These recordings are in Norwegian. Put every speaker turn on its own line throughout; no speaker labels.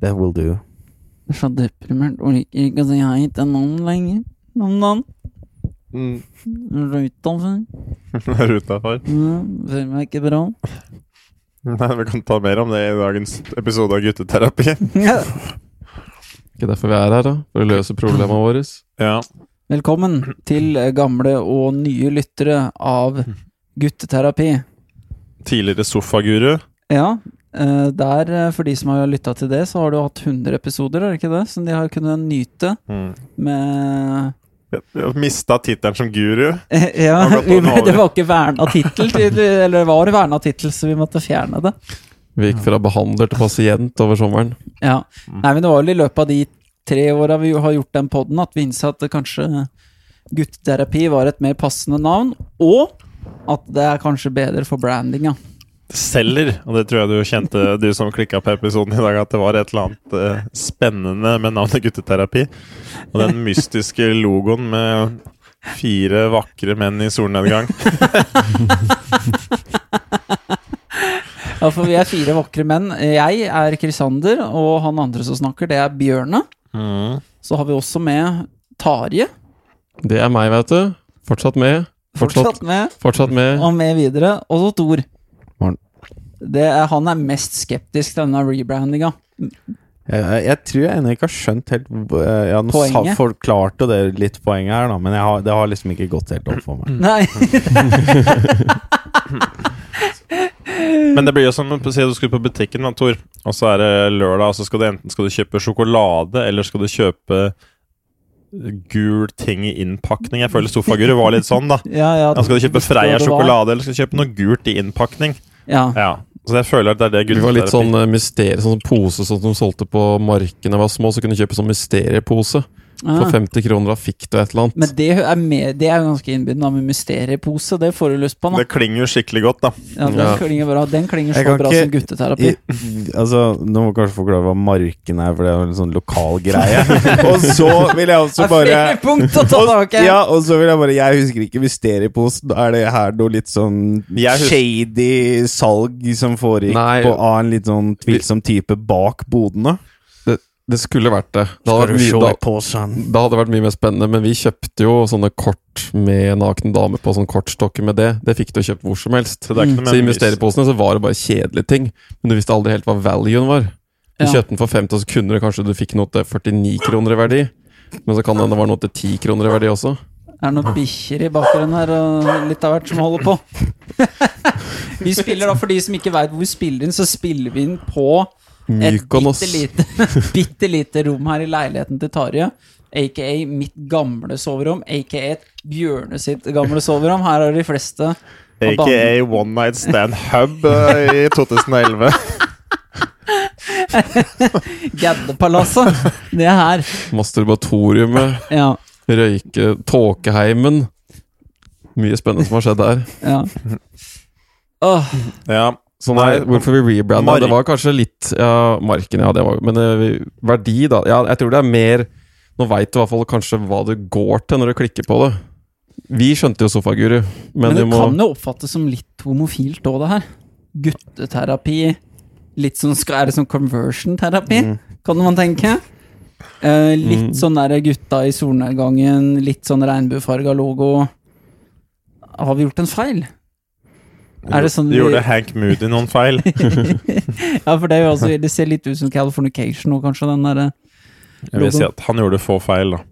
That will do.
Jeg er så deprimert og liker ikke å si hei til noen lenger. Om dagen.
Mm.
Jeg er så utenfor.
Det er utafor.
Ja, Føler meg ikke bra.
Nei, vi kan ta mer om det i dagens episode av Gutteterapi.
Ikke derfor vi er her, da. For å løse problemene våre.
Ja.
Velkommen til gamle og nye lyttere av Gutteterapi.
Tidligere sofaguru.
Ja, eh, der, eh, for de som har lytta til det, så har du hatt 100 episoder, er det ikke det? Som de har kunnet nyte
Mm.
med
Mista tittelen som guru. Det
Ja,
har gått
vi,
an over.
det var ikke verna tittel, til- eller det var verna tittel, så vi måtte fjerne det.
Vi gikk fra behandler til pasient over sommeren.
Ja. Nei, men det var vel i løpet av de tre åra vi har gjort den podden at vi innså at det kanskje gutteterapi var et mer passende navn, og at det er kanskje bedre for brandinga.
Selger. Og det tror jeg du kjente, du som klikka på episoden i dag, at det var et eller annet eh, spennende med navnet Gutteterapi. Og den mystiske logoen med fire vakre menn i solnedgang.
Ja, for vi er fire vakre menn. Jeg er Krisander, og han andre som snakker, det er Bjørne.
Mm.
Så har vi også med Tarje,
Det er meg, vet du. Fortsatt med. Fortsatt,
fortsatt med,
fortsatt med.
og med videre. Og så Tor.
Morn.
Det er, han er mest skeptisk til denne rebrandinga.
Jeg, jeg, jeg tror jeg ennå ikke har skjønt helt hvor- eh, ja, nå sa-
Poenget?
Forklarte jo det litt poenget her, da, men jeg har, det har liksom ikke gått helt opp for meg.
Nei.
Men det blir jo som å si at du skulle på butikken, da, Tor. Og så er det lørdag, og så skal du enten skal du kjøpe sjokolade, eller skal du kjøpe gul ting i innpakning. Jeg føler sofaguru var litt sånn, da.
Ja, ja,
Ja, skal du kjøpe
husker hva
Freia
det var.
sjokolade, eller skal du kjøpe noe gult i innpakning?
Ja.
Ja. Så jeg føler at det er det
Vi var litt
gutteterapi.
sånn eh, mysterie, sånn pose sånn som de solgte på markene da jeg var små. Så kunne du kjøpe sånn mysteriepose for
Ah.
50 kroner. Da fikk du et eller annet.
Men det er, med, det er jo ganske innbydende da, med mysteriepose. Det får du lyst på, da.
Det klinger jo skikkelig godt, da.
Ja, den
Ja.
klinger bra. Den klinger
Jeg
så
kan
bra
ikke-
som gutteterapi.
I, altså, nå må jeg kanskje forklare hva marken er, for det er jo en sånn lokal greie. Og så vil jeg
Det
også
er
bare
flere punkt å ta tak i!
Ja, og så vil jeg bare Jeg husker ikke mysterieposen. Er det her noe litt sånn
Jeg husker-
shady salg som foregikk
Nei.
på av en litt sånn tvilsom type bak bodene?
Det, det skulle vært det. Det hadde vært, mye, da,
posen?
det hadde vært mye mer spennende, men vi kjøpte jo sånne kort med naken dame på, sånn kortstokker med det. Det fikk du kjøpt hvor som helst. Mm.
Så det er ikke noe
Så i
med
mysterieposene så var det bare kjedelige ting, men du visste aldri helt hva valuen var. Du
Ja.
kjøpte den for 50, og så kunne du kanskje du fikk noe til 49 kroner i verdi. Men så kan det hende det var noe til 10 kroner i verdi også.
Det er noen bikkjer i bakgrunnen her og litt av hvert som holder på. vi spiller da, For de som ikke veit hvor vi spiller inn, så spiller vi inn på et
Mykonos.
bitte lite, bitte lite rom her i leiligheten til Tarje. Aka mitt gamle soverom, aka Bjørne sitt gamle soverom. Her er de fleste. av
AKA One Night Stand Hub eh, i 2011.
Gaddepalasset. Det er her.
Masturbatoriumet,
Ja,
røyke, tåkeheimen. Mye spennende som har skjedd der.
ja. Åh,
Ja.
Så nei, hvorfor vi rebranda?
Mark-
Det var kanskje litt ja, Marken, ja. det var Men eh, vi- verdi, da. Ja, jeg tror det er mer Nå veit du i hvert fall kanskje hva det går til når du klikker på det. Vi skjønte jo Sofaguru, men,
men
vi
det
må
kan jo oppfattes som litt homofilt òg, det her. Gutteterapi. Litt sånn, skal- Er det sånn conversion-terapi,
Mm.
kan man tenke? Eh, litt sånn der gutta i solnedgangen, litt sånn regnbuefarga logo. Har vi gjort en feil? Er det sånn
Du
vi,
gjorde Hank Moody noen feil.
Ja, for det, er jo også, det ser litt ut som Californication nå, kanskje, den eh, derre
Jeg vil si at han gjorde få feil, da.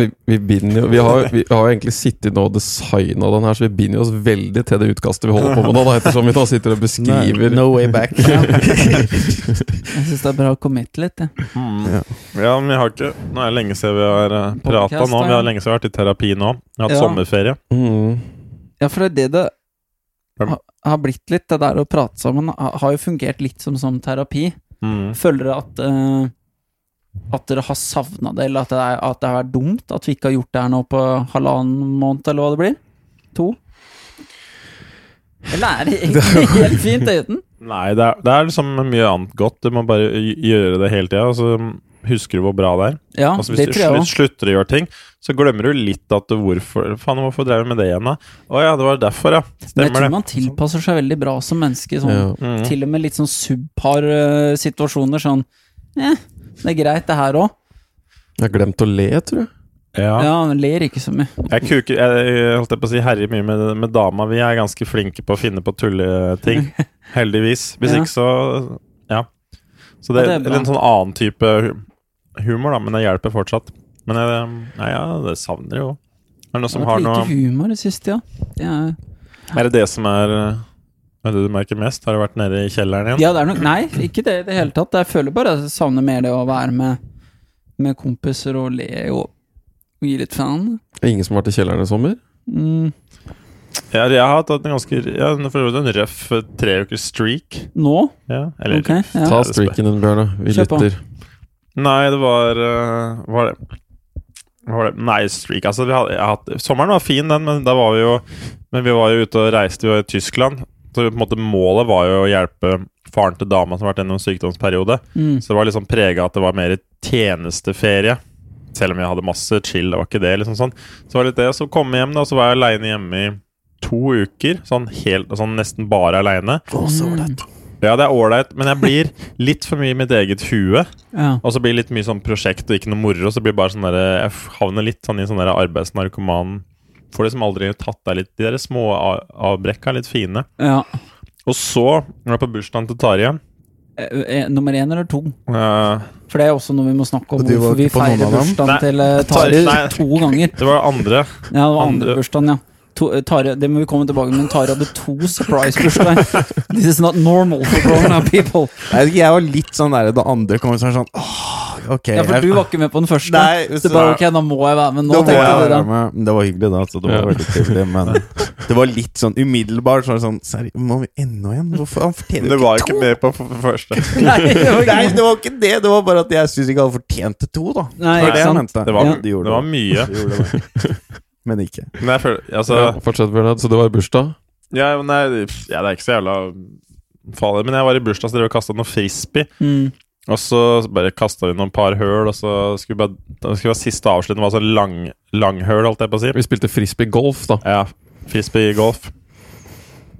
Vi, vi binder jo Vi har vi har jo egentlig sittet nå og designa den her, så vi binder jo oss veldig til det utkastet vi holder på med nå, da, ettersom vi nå sitter og beskriver
No way back.
Jeg syns det er bra å committe litt, jeg.
Ja. men jeg har ikke Nå er det lenge siden vi har eh, prata
Mm. Podcast,
nå.
da,
Vi
ja.
har lenge siden vi har vært i terapi nå. Vi har hatt
Ja.
sommerferie.
Mm.
Ja, for det er det det
Hvem?
ha- har blitt litt. Det der å prate sammen ha- har jo fungert litt som sånn terapi.
Mm.
Føler dere at eh, at dere har savna det, eller at det, er, at det har vært dumt at vi ikke har gjort det her nå på halvannen måned, eller hva det blir? To? Eller er det egentlig helt fint uten?
Nei, det er, det er liksom mye annet godt. Du må bare gj- gjøre det hele tida, og så husker du hvor bra det er.
Ja,
Altså Hvis
det
du
tror jeg
slutt,
òg.
slutter å gjøre ting, så glemmer du litt at du hvorfor Faen, hvorfor drev vi med det igjen, da? Å ja, det var derfor, ja.
Men jeg
Stemmer
tror
det.
man tilpasser seg veldig bra som menneske. Sånn,
Ja.
Mm.
Til og med litt sånn subpar eh, situasjoner. Sånn eh, Det er greit, det her òg.
Jeg har glemt å le, tror jeg.
Ja.
Ja, han ler ikke så mye.
Jeg kuker Jeg jeg holdt på å si herjer mye med, med dama. Vi er ganske flinke på å finne på tulleting. Heldigvis. Hvis
Ja.
ikke, så Ja. Så det,
Ja, det
er
er bra.
en sånn annen type hu- humor, da, men det hjelper fortsatt. Men jeg, nei, ja, det savner jo Er det noe som
Det har
har
vært
noe
lite humor i siste, ja. Det er,
Er det det som er eh, Er det du merker mest? Har du vært nede i kjelleren igjen?
ja, det er nok Nei, ikke det i det hele tatt. Jeg føler bare at jeg savner mer det å være med, med kompiser og le og, og gi litt faen.
Ingen som har vært i kjelleren i sommer?
Mm.
Jeg, jeg har hatt en ganske ja, For øvrig en røff eh, treukers streak.
Nå?
Ja, eller
Ok. Ja.
Ta streaken din, Bjørne. Vi
Kjør på.
lytter.
Nei, det var eh, Var det hva var det? Nei, streak altså, vi hadde, jeg hadde, Sommeren var fin den, men da var vi jo Men vi var jo ute og reiste Vi var i Tyskland Så på en måte målet var jo å hjelpe Faren til dama som har vært gjennom en sykdomsperiode
Mm.
Så det var liksom preget at det var mer tjenesteferie Selv om jeg hadde masse chill Det var ikke det liksom sånn Så var det litt det Så kom jeg hjem da Og så var jeg alene hjemme i to uker Sånn, helt, sånn nesten bare alene Ja, det er ålreit Men jeg blir litt for mye i mitt eget hue
Ja.
og så blir det litt mye sånn prosjekt og ikke noe moro. Så blir det bare sånn der, Jeg f- havner litt sånn i sånn der arbeidsnarkoman Får liksom aldri tatt deg litt De der små a- avbrekka er litt fine.
ja.
Og så, når jeg er på bursdagen til Tarjei
Eh, eh, Nummer én eller to?
eh,
For det er også noe vi må snakke om.
Og du var
Hvorfor vi
ikke på noen
feirer
av dem?
bursdagen
Nei,
til eh,
Tari- nei.
Tare to ganger.
Det var det andre.
Ja, det var
Andre.
andre bursdagen, ja. To, eh, Tare, det må vi komme tilbake med, men Tare hadde to surprise-bursdager. This is not normal for grown up people.
Jeg, vet ikke, jeg var litt sånn der da andre kom, så var jeg sånn åh, ok.
Ja, for
jeg-
du var ikke med på den første.
Nei,
så det bare, ok, da må jeg være med nå,
Da må
tenkte
jeg
jeg.
være
da.
med. Men Det var hyggelig, da. Så det var
Ja.
veldig trivelig. Men det var litt sånn umiddelbart. Så var det sånn Seri, må vi enda en? Hvorfor? Han fortjener jo ikke to!
med på f- første.
Nei, det var ikke
Nei,
noe.
det var ikke det. Det var bare at jeg syns ikke han fortjente to, da.
Nei,
Det var
ikke
det jeg
sant.
mente.
Det var,
Ja.
De gjorde
det var mye.
De gjorde det. Men ikke.
Men jeg føler Altså
Ja, fortsett, Bjørne. Så det var i bursdag?
ja, men nei, pff, ja, det er ikke så jævla farlig. Men jeg var i bursdag, så drev jeg og kasta noe frisbee.
Mm.
Og så bare kasta vi noen par høl, og så skulle vi bare, det skulle være siste avslutning. Det var sånn lang, langhøl, holdt jeg på å si.
Vi spilte frisbee-golf, da.
Ja, frisbee golf.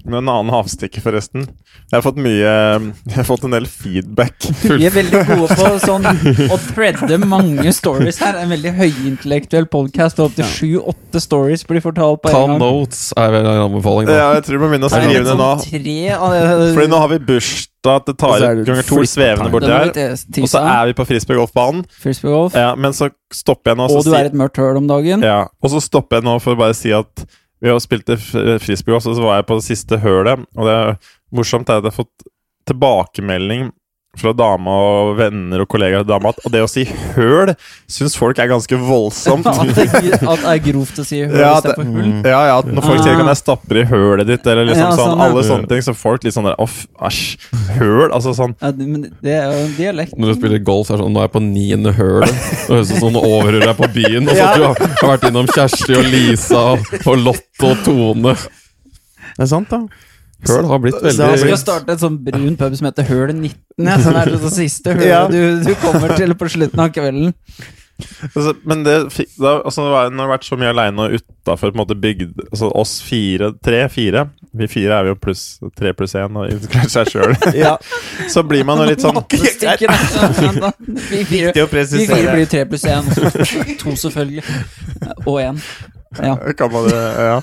Med en annen avstikker, forresten. Jeg har fått mye Jeg har fått en del feedback.
Vi er veldig gode på sånn å threade mange stories her. En veldig høyintellektuell podkast. Opptil sju-åtte stories blir fortalt på
Ta
en gang.
notes er vel en anbefaling, da.
Ja, jeg tror vi må begynne å
Det er
skrive
litt
det nå.
sånn tre av-
Fordi nå har vi bursdag til
Og så
Tare
er det
ganger to
flip-time.
svevende borti
Den er
her.
litt
Og så
tisa.
er vi på frisbee golfbanen.
Frisbee Golf.
Ja, men så stopper jeg nå.
Og
Så
du er
sier,
et mørkt høl om dagen.
ja, og så stopper jeg nå for å bare si at vi har spilt i f- frisbee golf, og så var jeg på det siste hølet. Og det er morsomt er at jeg har fått tilbakemelding fra dama og venner og kollegaer til dama at det å si høl syns folk er ganske voldsomt.
At det at det er grovt å si høl
Ja, det- Mm.
istedenfor hull.
Ja, ja, at når folk sier
Ah.
kan jeg stapper i hølet ditt, eller liksom
Ja,
sånn,
sånn, ja.
alle sånne ting, så folk litt sånn der off, æsj, høl, altså sånn.
Ja, det- men det er jo en dialekt.
Når du spiller golf, så er det sånn Nå er jeg på niende hølet. Det høres ut som noen overhører deg på byen. Og så at du har- har vært innom Kjersti og Lisa og- og Lotte og Tone.
Det er sant, da.
Høl har blitt
Så det har
Vi skal
veldig
starte en sånn brun pub som heter Høl 19. Ja, som er det siste hølet
Ja.
du, du kommer til på slutten av kvelden.
Altså, men det fikk, da, altså, det var- når jeg har vært så mye alene og utenfor på en måte bygd, altså oss fire, tre, fire, vi fire er jo pluss, tre pluss en, og inkludert seg selv,
Ja,
så blir man jo litt sånn,
Mattestykker, da. Vi fire
det
Vi fire
å presisere.
blir tre pluss én. To, selvfølgelig. Og én. Ja.
kan man det, ja.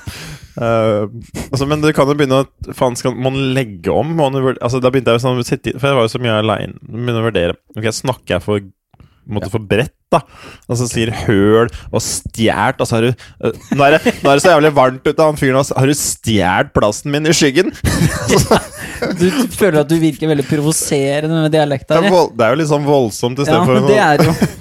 Eh, altså, men du kan jo begynne å Faen, skal man legge om? Må man vurd- altså, da begynte jeg jo sånn å sitte i- For jeg var jo så mye aleine. Begynne å vurdere Ok, Snakker jeg for Måtte for bredt, da? Og så sier høl og stjålet Og så har du eh, nå, er det, nå er det så jævlig varmt ute, han fyren altså, Har du stjålet plassen min i skyggen?
Du føler at du virker veldig provoserende med dialekta
Det er,
di.
vold, det er jo litt sånn voldsomt
Ja,
istedenfor
men det er jo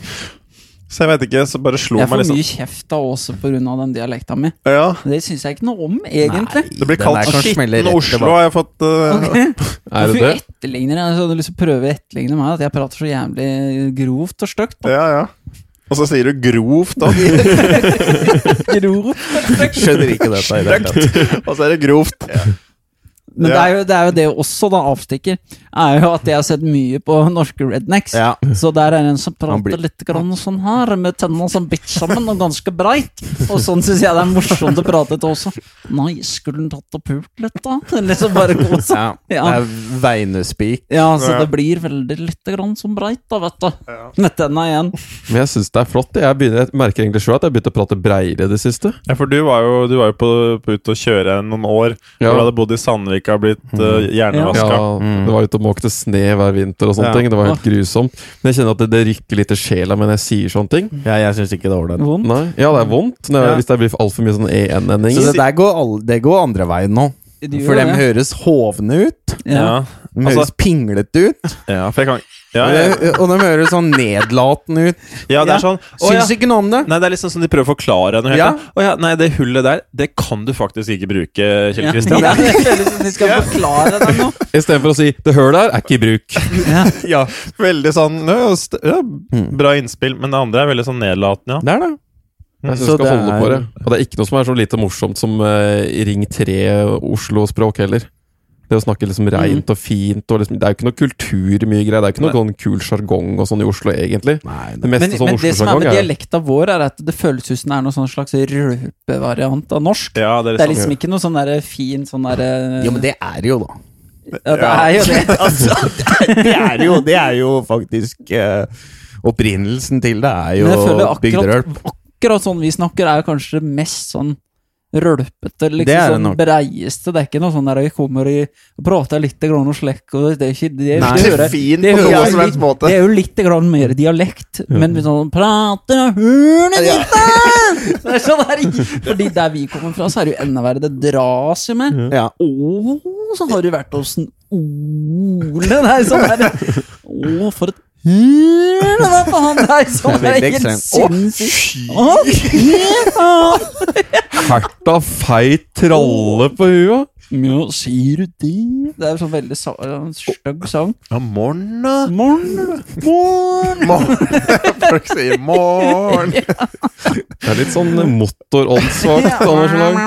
Så jeg vet ikke, så bare slo
Jeg
meg
får
liksom
mye kjeft da også pga. den dialekta mi.
Ja.
Det syns jeg ikke noe om, egentlig.
Det blir
Den
kalt
der kan smelle
skitten
rett
Oslo,
tilbake.
har jeg fått eh,
Er det
Hvorfor
det?
etterligner jeg? Jeg hadde lyst til å prøve å etterligne meg, at jeg prater så jævlig grovt og stygt.
Ja, ja. Og så sier du grovt òg.
Grovt.
Skjønner ikke dette i det hele tatt.
Og så er det grovt.
Men det,
Ja.
er jo, det er jo det også, da, avstikker, er jo at jeg har sett mye på norske rednecks.
Ja.
Så der er en som prater
Han blir-
litt grann sånn her, med tennene som bitt sammen og ganske breit. Og sånn syns jeg det er morsomt å prate til også. Nei, skulle hun tatt og pult litt, da? Liksom bare kose.
Ja. Det
Ja.
er veinespik.
Ja, så det blir veldig lite grann som breit, da, vet du. Nettenda igjen.
Men jeg syns det er flott. Jeg, begynner, jeg merker egentlig sjøl at jeg begynte å prate breiere i det siste.
Ja, for du var jo, du var jo på, på ute og kjøre noen år.
Ja.
Hvor du hadde bodd i Sandvika og blitt uh,
Ja,
hjernevaska.
Det var ute og måkte sne hver vinter og sånne
Ja.
ting. Det var helt grusomt. Men jeg kjenner at det, det rykker litt i sjela men jeg sier sånne ting.
Ja, jeg syns ikke det er ålreit.
Vondt.
Nei, Ja, det er vondt når jeg,
Ja.
hvis det blir altfor mye sånn
Så det
en-ending.
der går, all- det går andre veien nå.
Det gjør
For dem
det.
høres hovne ut.
Ja.
Ja.
De
Altså-
høres pinglete ut.
Ja, for jeg kan Ja, ja,
Og de- Og de høres sånn nedlatende ut.
ja det er sånn å, ja.
Syns ikke noe om det.
Nei, det er liksom sånn de prøver å forklare noe helt
Ja.
annet. Å ja, nei, det hullet der, det kan du faktisk ikke bruke, Kjell
Ja.
Kristian.
Ja, det føles som de skal forklare deg noe.
Istedenfor å si 'det hølet her er ikke i bruk'.
Ja.
Ja, veldig sånn ja, st- ja, Bra innspill, men det andre er veldig sånn nedlatende, ja.
Det er det.
Jeg synes
Så
du skal
det
holde
er-
på det. Og det er ikke noe som er så lite morsomt som eh, Ring 3 Oslo-språk heller. Det å snakke liksom reint og fint og liksom, Det er jo ikke noe kultur mye greier. Det er ikke noe sånn kul sjargong og sånn i Oslo, egentlig.
Nei,
Det meste
Men,
sånn
men det som er
Oslo-sjargong
med
er
dialekta vår, er at det føles ut som det er noen sånn slags rølpevariant av norsk.
Ja, det er
Det er
liksom,
liksom ikke noe sånn der fin sånn derre
Jo, men det er det jo, da.
Ja, det er jo det.
altså, det er jo, det er jo faktisk eh, Opprinnelsen til det er
Men jeg føler
jo
akkurat,
bygderølp.
akkurat sånn vi snakker, er jo kanskje det mest sånn rølpete, liksom
Det er det
sånn
nok.
breieste. Det er ikke noe sånn der vi kommer i- og prater litt grann og slekk og Det er ikke det,
Nei.
det, hører,
Fin
det,
på
hører,
noen som
litt-
helst måte.
det er jo litt grann mer dialekt, men vi sånn prater og hørne ditt da!» Det er sånn der, Fordi der vi kommer fra, så er det jo enda verre. Det dras jo med.
Ja.
Å, så har du vært hos en Ole Nei, sånn der Å, for et høl det var på han der! Sånn
Det er
der,
veldig
helt
ekstremt.
sinnssykt. Å, fy faen!
Herta feit tralle på hua!
Ja, sier du det? Det er sånn veldig sa- en stygg sang.
Ja, morn, da.
Morn, morn
Folk sier morn.
Det er litt sånn motoråndssvakt. av noe slag.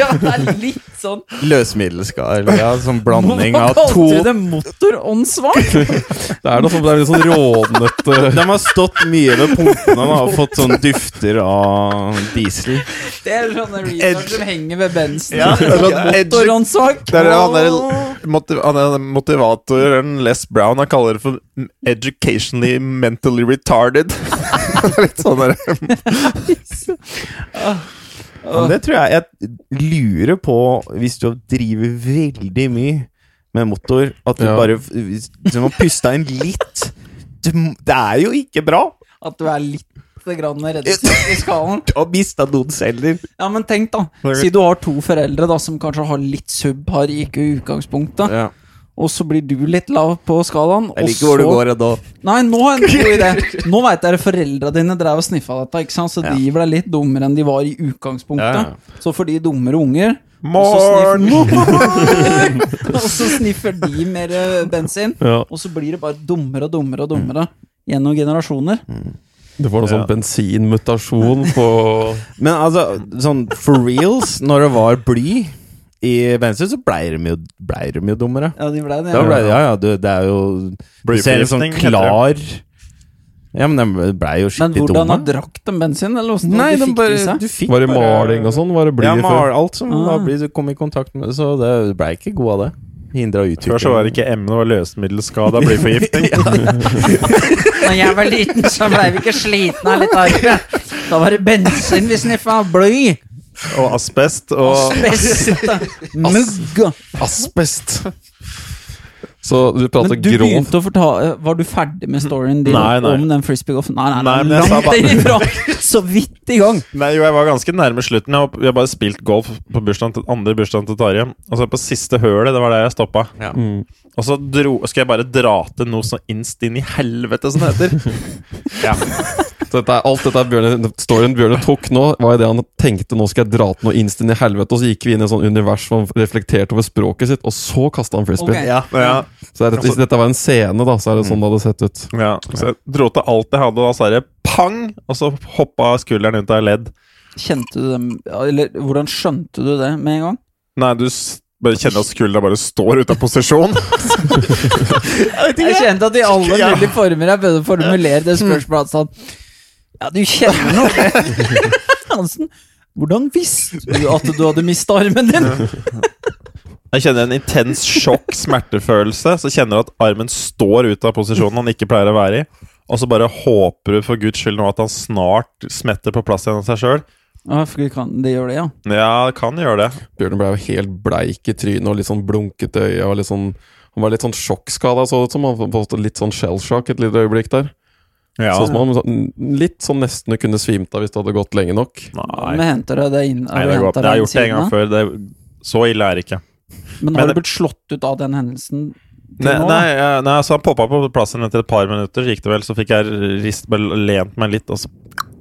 Ja, det er litt sånn
Løsmiddelskar. Ja, sånn blanding av
Hva
to
kalte du det? Motoråndssvak?
Det er noe sånn, det er litt sånn rånete
De har stått mye ved pumpene da, og fått sånn dufter av diesel.
Det er sånne retard som henger ved bensen.
Ja, det er sånn edgy-
Motoråndssvak.
Det er det han der motiv- han er motivatoren Les Brown han kaller det for educationally mentally retarded. Litt sånn der.
Men det tror jeg jeg lurer på hvis du driver veldig mye med motor, at du
Ja.
bare hvis du må puste inn litt. Du, m- det er jo ikke bra
At du er litt grann redusert i skalen.
å miste noen celler.
Ja, men tenk, da. Si du har to foreldre da som kanskje har litt sub har i utgangspunktet, og så blir du litt lav på skalaen.
Jeg
og
liker hvor du
så-
går nå.
Nei, nå har jeg en god idé. Nå veit dere foreldra dine drev og sniffa dette, ikke sant? så de ble litt dummere enn de var i utgangspunktet.
Ja,
Så får de dummere unger.
Morn!
Og så sniffer, Morn! og så sniffer de mer eh, bensin.
Ja.
Og så blir det bare dummere og dummere og dummere gjennom generasjoner.
Mm.
Du får noe sånn bensinmutasjon på
Men altså, sånn for reals, når det var bly i bensin, så blei de jo, blei de jo dummere.
Ja, de ble det.
Da
Ja.
ble det, ja, ja, du, det er jo Du ser en sånn
Blyforgiftning heter det.
klar Ja, men de blei jo
Men
skikkelig
hvordan
dumme.
har drakk de bensin? Eller hvordan
Nei,
de
de
fikk
bare,
i seg?
du fikk
Var det
bare-
maling og sånn? Var det
Ja,
blyet
mal,
før?
alt som
Ah.
da blir du kom i kontakt med, så det blei ikke god av det. Hindra utvikling.
Før så var det ikke emnet var løsemiddelskade av blyforgiftning.
Når jeg var liten, så blei vi ikke slitne av litt ark. Da var det bensin vi sniffa. Bly.
Og asbest og
Asbest. Mugg.
Asbest! Så du prater
Men du
grovt
begynte å fortale Var du ferdig med storyen din
Nei, nei.
om den frisbeegoffen? Nei, nei, nei,
Nei, men jeg sa
langt derifra! Så vidt i gang!
Nei, jo, jeg var ganske nærme slutten. Jeg har, jeg har bare spilt golf på bursdagen til, andre bursdagen til Tarjei. Og så på siste hølet, det var der jeg stoppa. Og så dro, skal jeg bare dra til noe så innst inn i helvete, som det heter. ja.
Dette er, alt dette er Bjørne, storyen Bjørne tok nå, var jo det han tenkte nå skal jeg dra til noe innst inn i helvete. Og så gikk vi inn i et sånt univers som reflekterte over språket sitt, og så kasta han frisbee.
Ok.
Ja.
Ja,
Så er det, hvis dette var en scene, da, så er det sånn det hadde sett ut.
ja. Så jeg dro til alt jeg hadde, og da sa jeg pang! Og så hoppa skulderen ut av ledd.
Kjente du dem Eller hvordan skjønte du det med en gang?
Nei, du s- Bare kjenne at skuldra bare står ute av posisjon.
Jeg kjente at i alle mulige former jeg prøvde å formulere det spørsmålet sånn Ja, du kjenner noe. Hansen, hvordan visste du at du hadde mista armen din?
Jeg kjenner en intens sjokk, smertefølelse. Så kjenner du at armen står ut av posisjonen han ikke pleier å være i. Og så bare håper du for guds skyld nå at han snart smetter på plass igjen av seg sjøl.
Å, for du kan, det gjør det, ja.
Ja, det kan gjøre det.
Bjørnen ble jo helt bleik i trynet og litt sånn blunkete øye. Og litt sånn, han var litt sånn sjokkskada, så det ut som. Han hadde fått litt sånn shellshock et lite øyeblikk der. Sånn som han sånn- litt sånn nesten kunne svimt av hvis det hadde gått lenge nok.
Nei,
Men henter du det inn?
Nei det, går, det har jeg gjort det en gang før. Det, så ille er det ikke.
Men
Men-
har du blitt slått ut av den hendelsen? til
Nei,
nå, da?
nei, eh, nei så han poppa på plassen etter et par minutter, så gikk det vel. Så fikk jeg rist, bare lent meg litt, og så,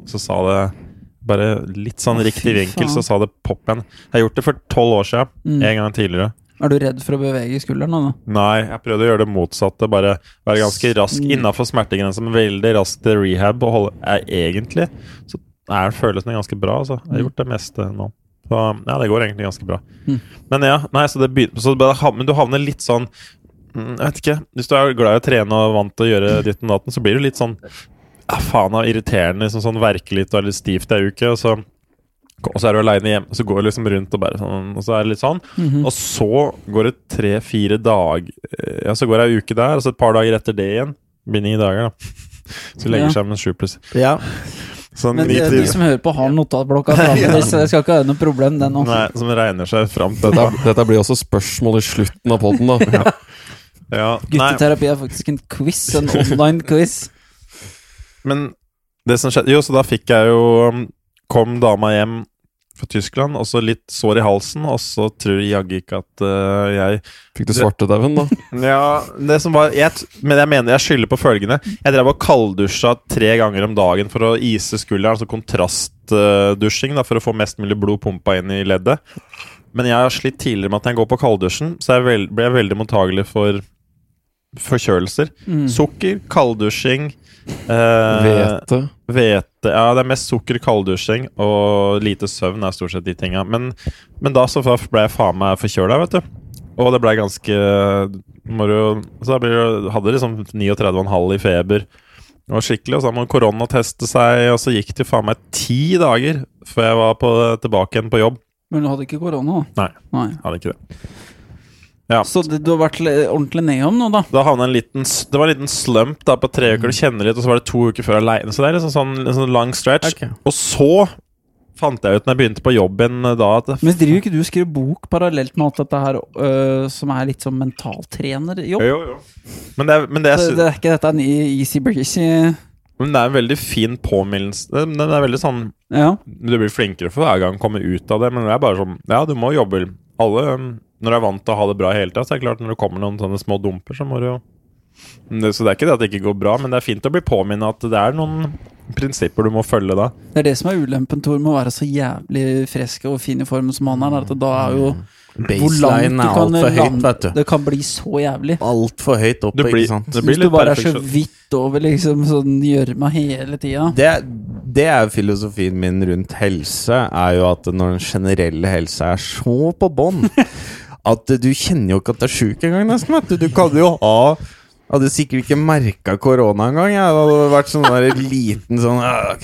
så sa det Bare litt sånn
Å,
riktig
fy
vinkel,
faen.
så sa det pop igjen. Jeg har gjort det for tolv år siden.
Mm.
En gang tidligere.
Er du redd for å bevege skulderen nå, da?
Nei, jeg prøvde å gjøre det motsatte. Bare være ganske rask
Mm.
innafor smertegrensa, men veldig rask til rehab. Og holde, jeg, egentlig så er følelsen ganske bra. Altså. Jeg har gjort det meste nå. Så ja, det går egentlig ganske bra.
Mm.
Men ja, nei, så det begynner så det bare, ham- Men du havner litt sånn mm, Jeg vet ikke. Hvis du er glad i å trene og vant til å gjøre ditt og datten, så blir du litt sånn ja, faen av irriterende. Liksom sånn verkelig og litt stivt ei uke, og så og så er du aleine hjemme, så går du liksom rundt og bare sånn, og så er det litt sånn.
Mm. Mhm.
Og så går det tre-fire dager eh, Ja, så går det ei uke der, og så et par dager etter det igjen. Det Blir ni dager, da. Så legger
Ja.
seg med sju pluss.
Ja.
Sånn
Men
ni
eh,
til
de som hører på, har notatblokka framme, så jeg skal ikke ha noe problem, det nå.
Nei, som regner seg fram til
Dette,
dette.
er- dette blir også spørsmål i slutten av poden, da.
Ja, nei,
Gutteterapi er faktisk en quiz, en online quiz.
men det som skjedde Jo, så da fikk jeg jo um, Kom dama hjem fra Tyskland, og så litt sår i halsen, og så tror jeg jaggu ikke at eh, jeg
Fikk du svartedauden, da?
Ja, det som var jeg, t- Men jeg mener jeg skylder på følgende. Jeg drev og kalddusja tre ganger om dagen for å ise skulderen. Altså kontrastdusjing da, for å få mest mulig blod pumpa inn i leddet. Men jeg har slitt tidligere med at når jeg går på kalddusjen, så jeg vel, blir jeg veldig mottagelig for forkjølelser.
Mm.
Sukker, kalddusjing eh,
Hvete.
Hvete Ja, det er mest sukker, kalddusjing og lite søvn er stort sett de tinga. Men, men da så ble jeg faen meg forkjøla, vet du. Og det ble ganske må du- Så da blir det, hadde liksom 39,5 i feber. Det var skikkelig, og så må koronateste seg, og så gikk det faen meg ti dager før jeg var på, tilbake igjen på jobb.
Men du hadde ikke korona, da?
Nei,
Nei.
hadde ikke det.
Så det, du har vært le- ordentlig nedom nå, da?
Da havna en liten s- Det var en liten slump da på tre uker, du kjenner litt, og så var det to uker før aleine. Så det er liksom sånn, en sånn lang stretch. Og så fant jeg ut når jeg begynte på jobben eh, da at
Men driver ikke du og skriver bok parallelt med alt dette her, øh, som er litt sånn mentaltrenerjobb?
Jo, jo. Men det er, men det er,
Det, det er ikke dette en e- easy breezy
men det er en veldig fin påminnelse. Den den er veldig sånn
Ja.
Du blir flinkere for hver gang du kommer ut av det, men det er bare sånn Ja, du må jobbe. Alle um, Når du er vant til å ha det bra hele tida, så er det klart når det kommer noen sånne små dumper, så må du jo Det- Så det er ikke det at det ikke går bra, men det er fint å bli påminnet at det er noen prinsipper du må følge da.
Det er det som er ulempen, Tor, med å være så jævlig frisk og fin i form som han er. er At da er jo
Mm. Baseline er altfor høyt, vet du.
Det kan bli så jævlig.
Altfor høyt
Du
oppe,
blir,
ikke sant.
det blir
Hvis du
litt
bare er så
perfeksjon.
vidt over liksom sånn gjørma hele tida.
Det, det er jo filosofien min rundt helse, er jo at når den generelle helsa er så på bånn at du kjenner jo ikke at du er sjuk engang, nesten. Vet du. du kan jo ha Hadde sikkert ikke merka korona engang. Jeg hadde vært sånn der liten sånn «Ah, ok,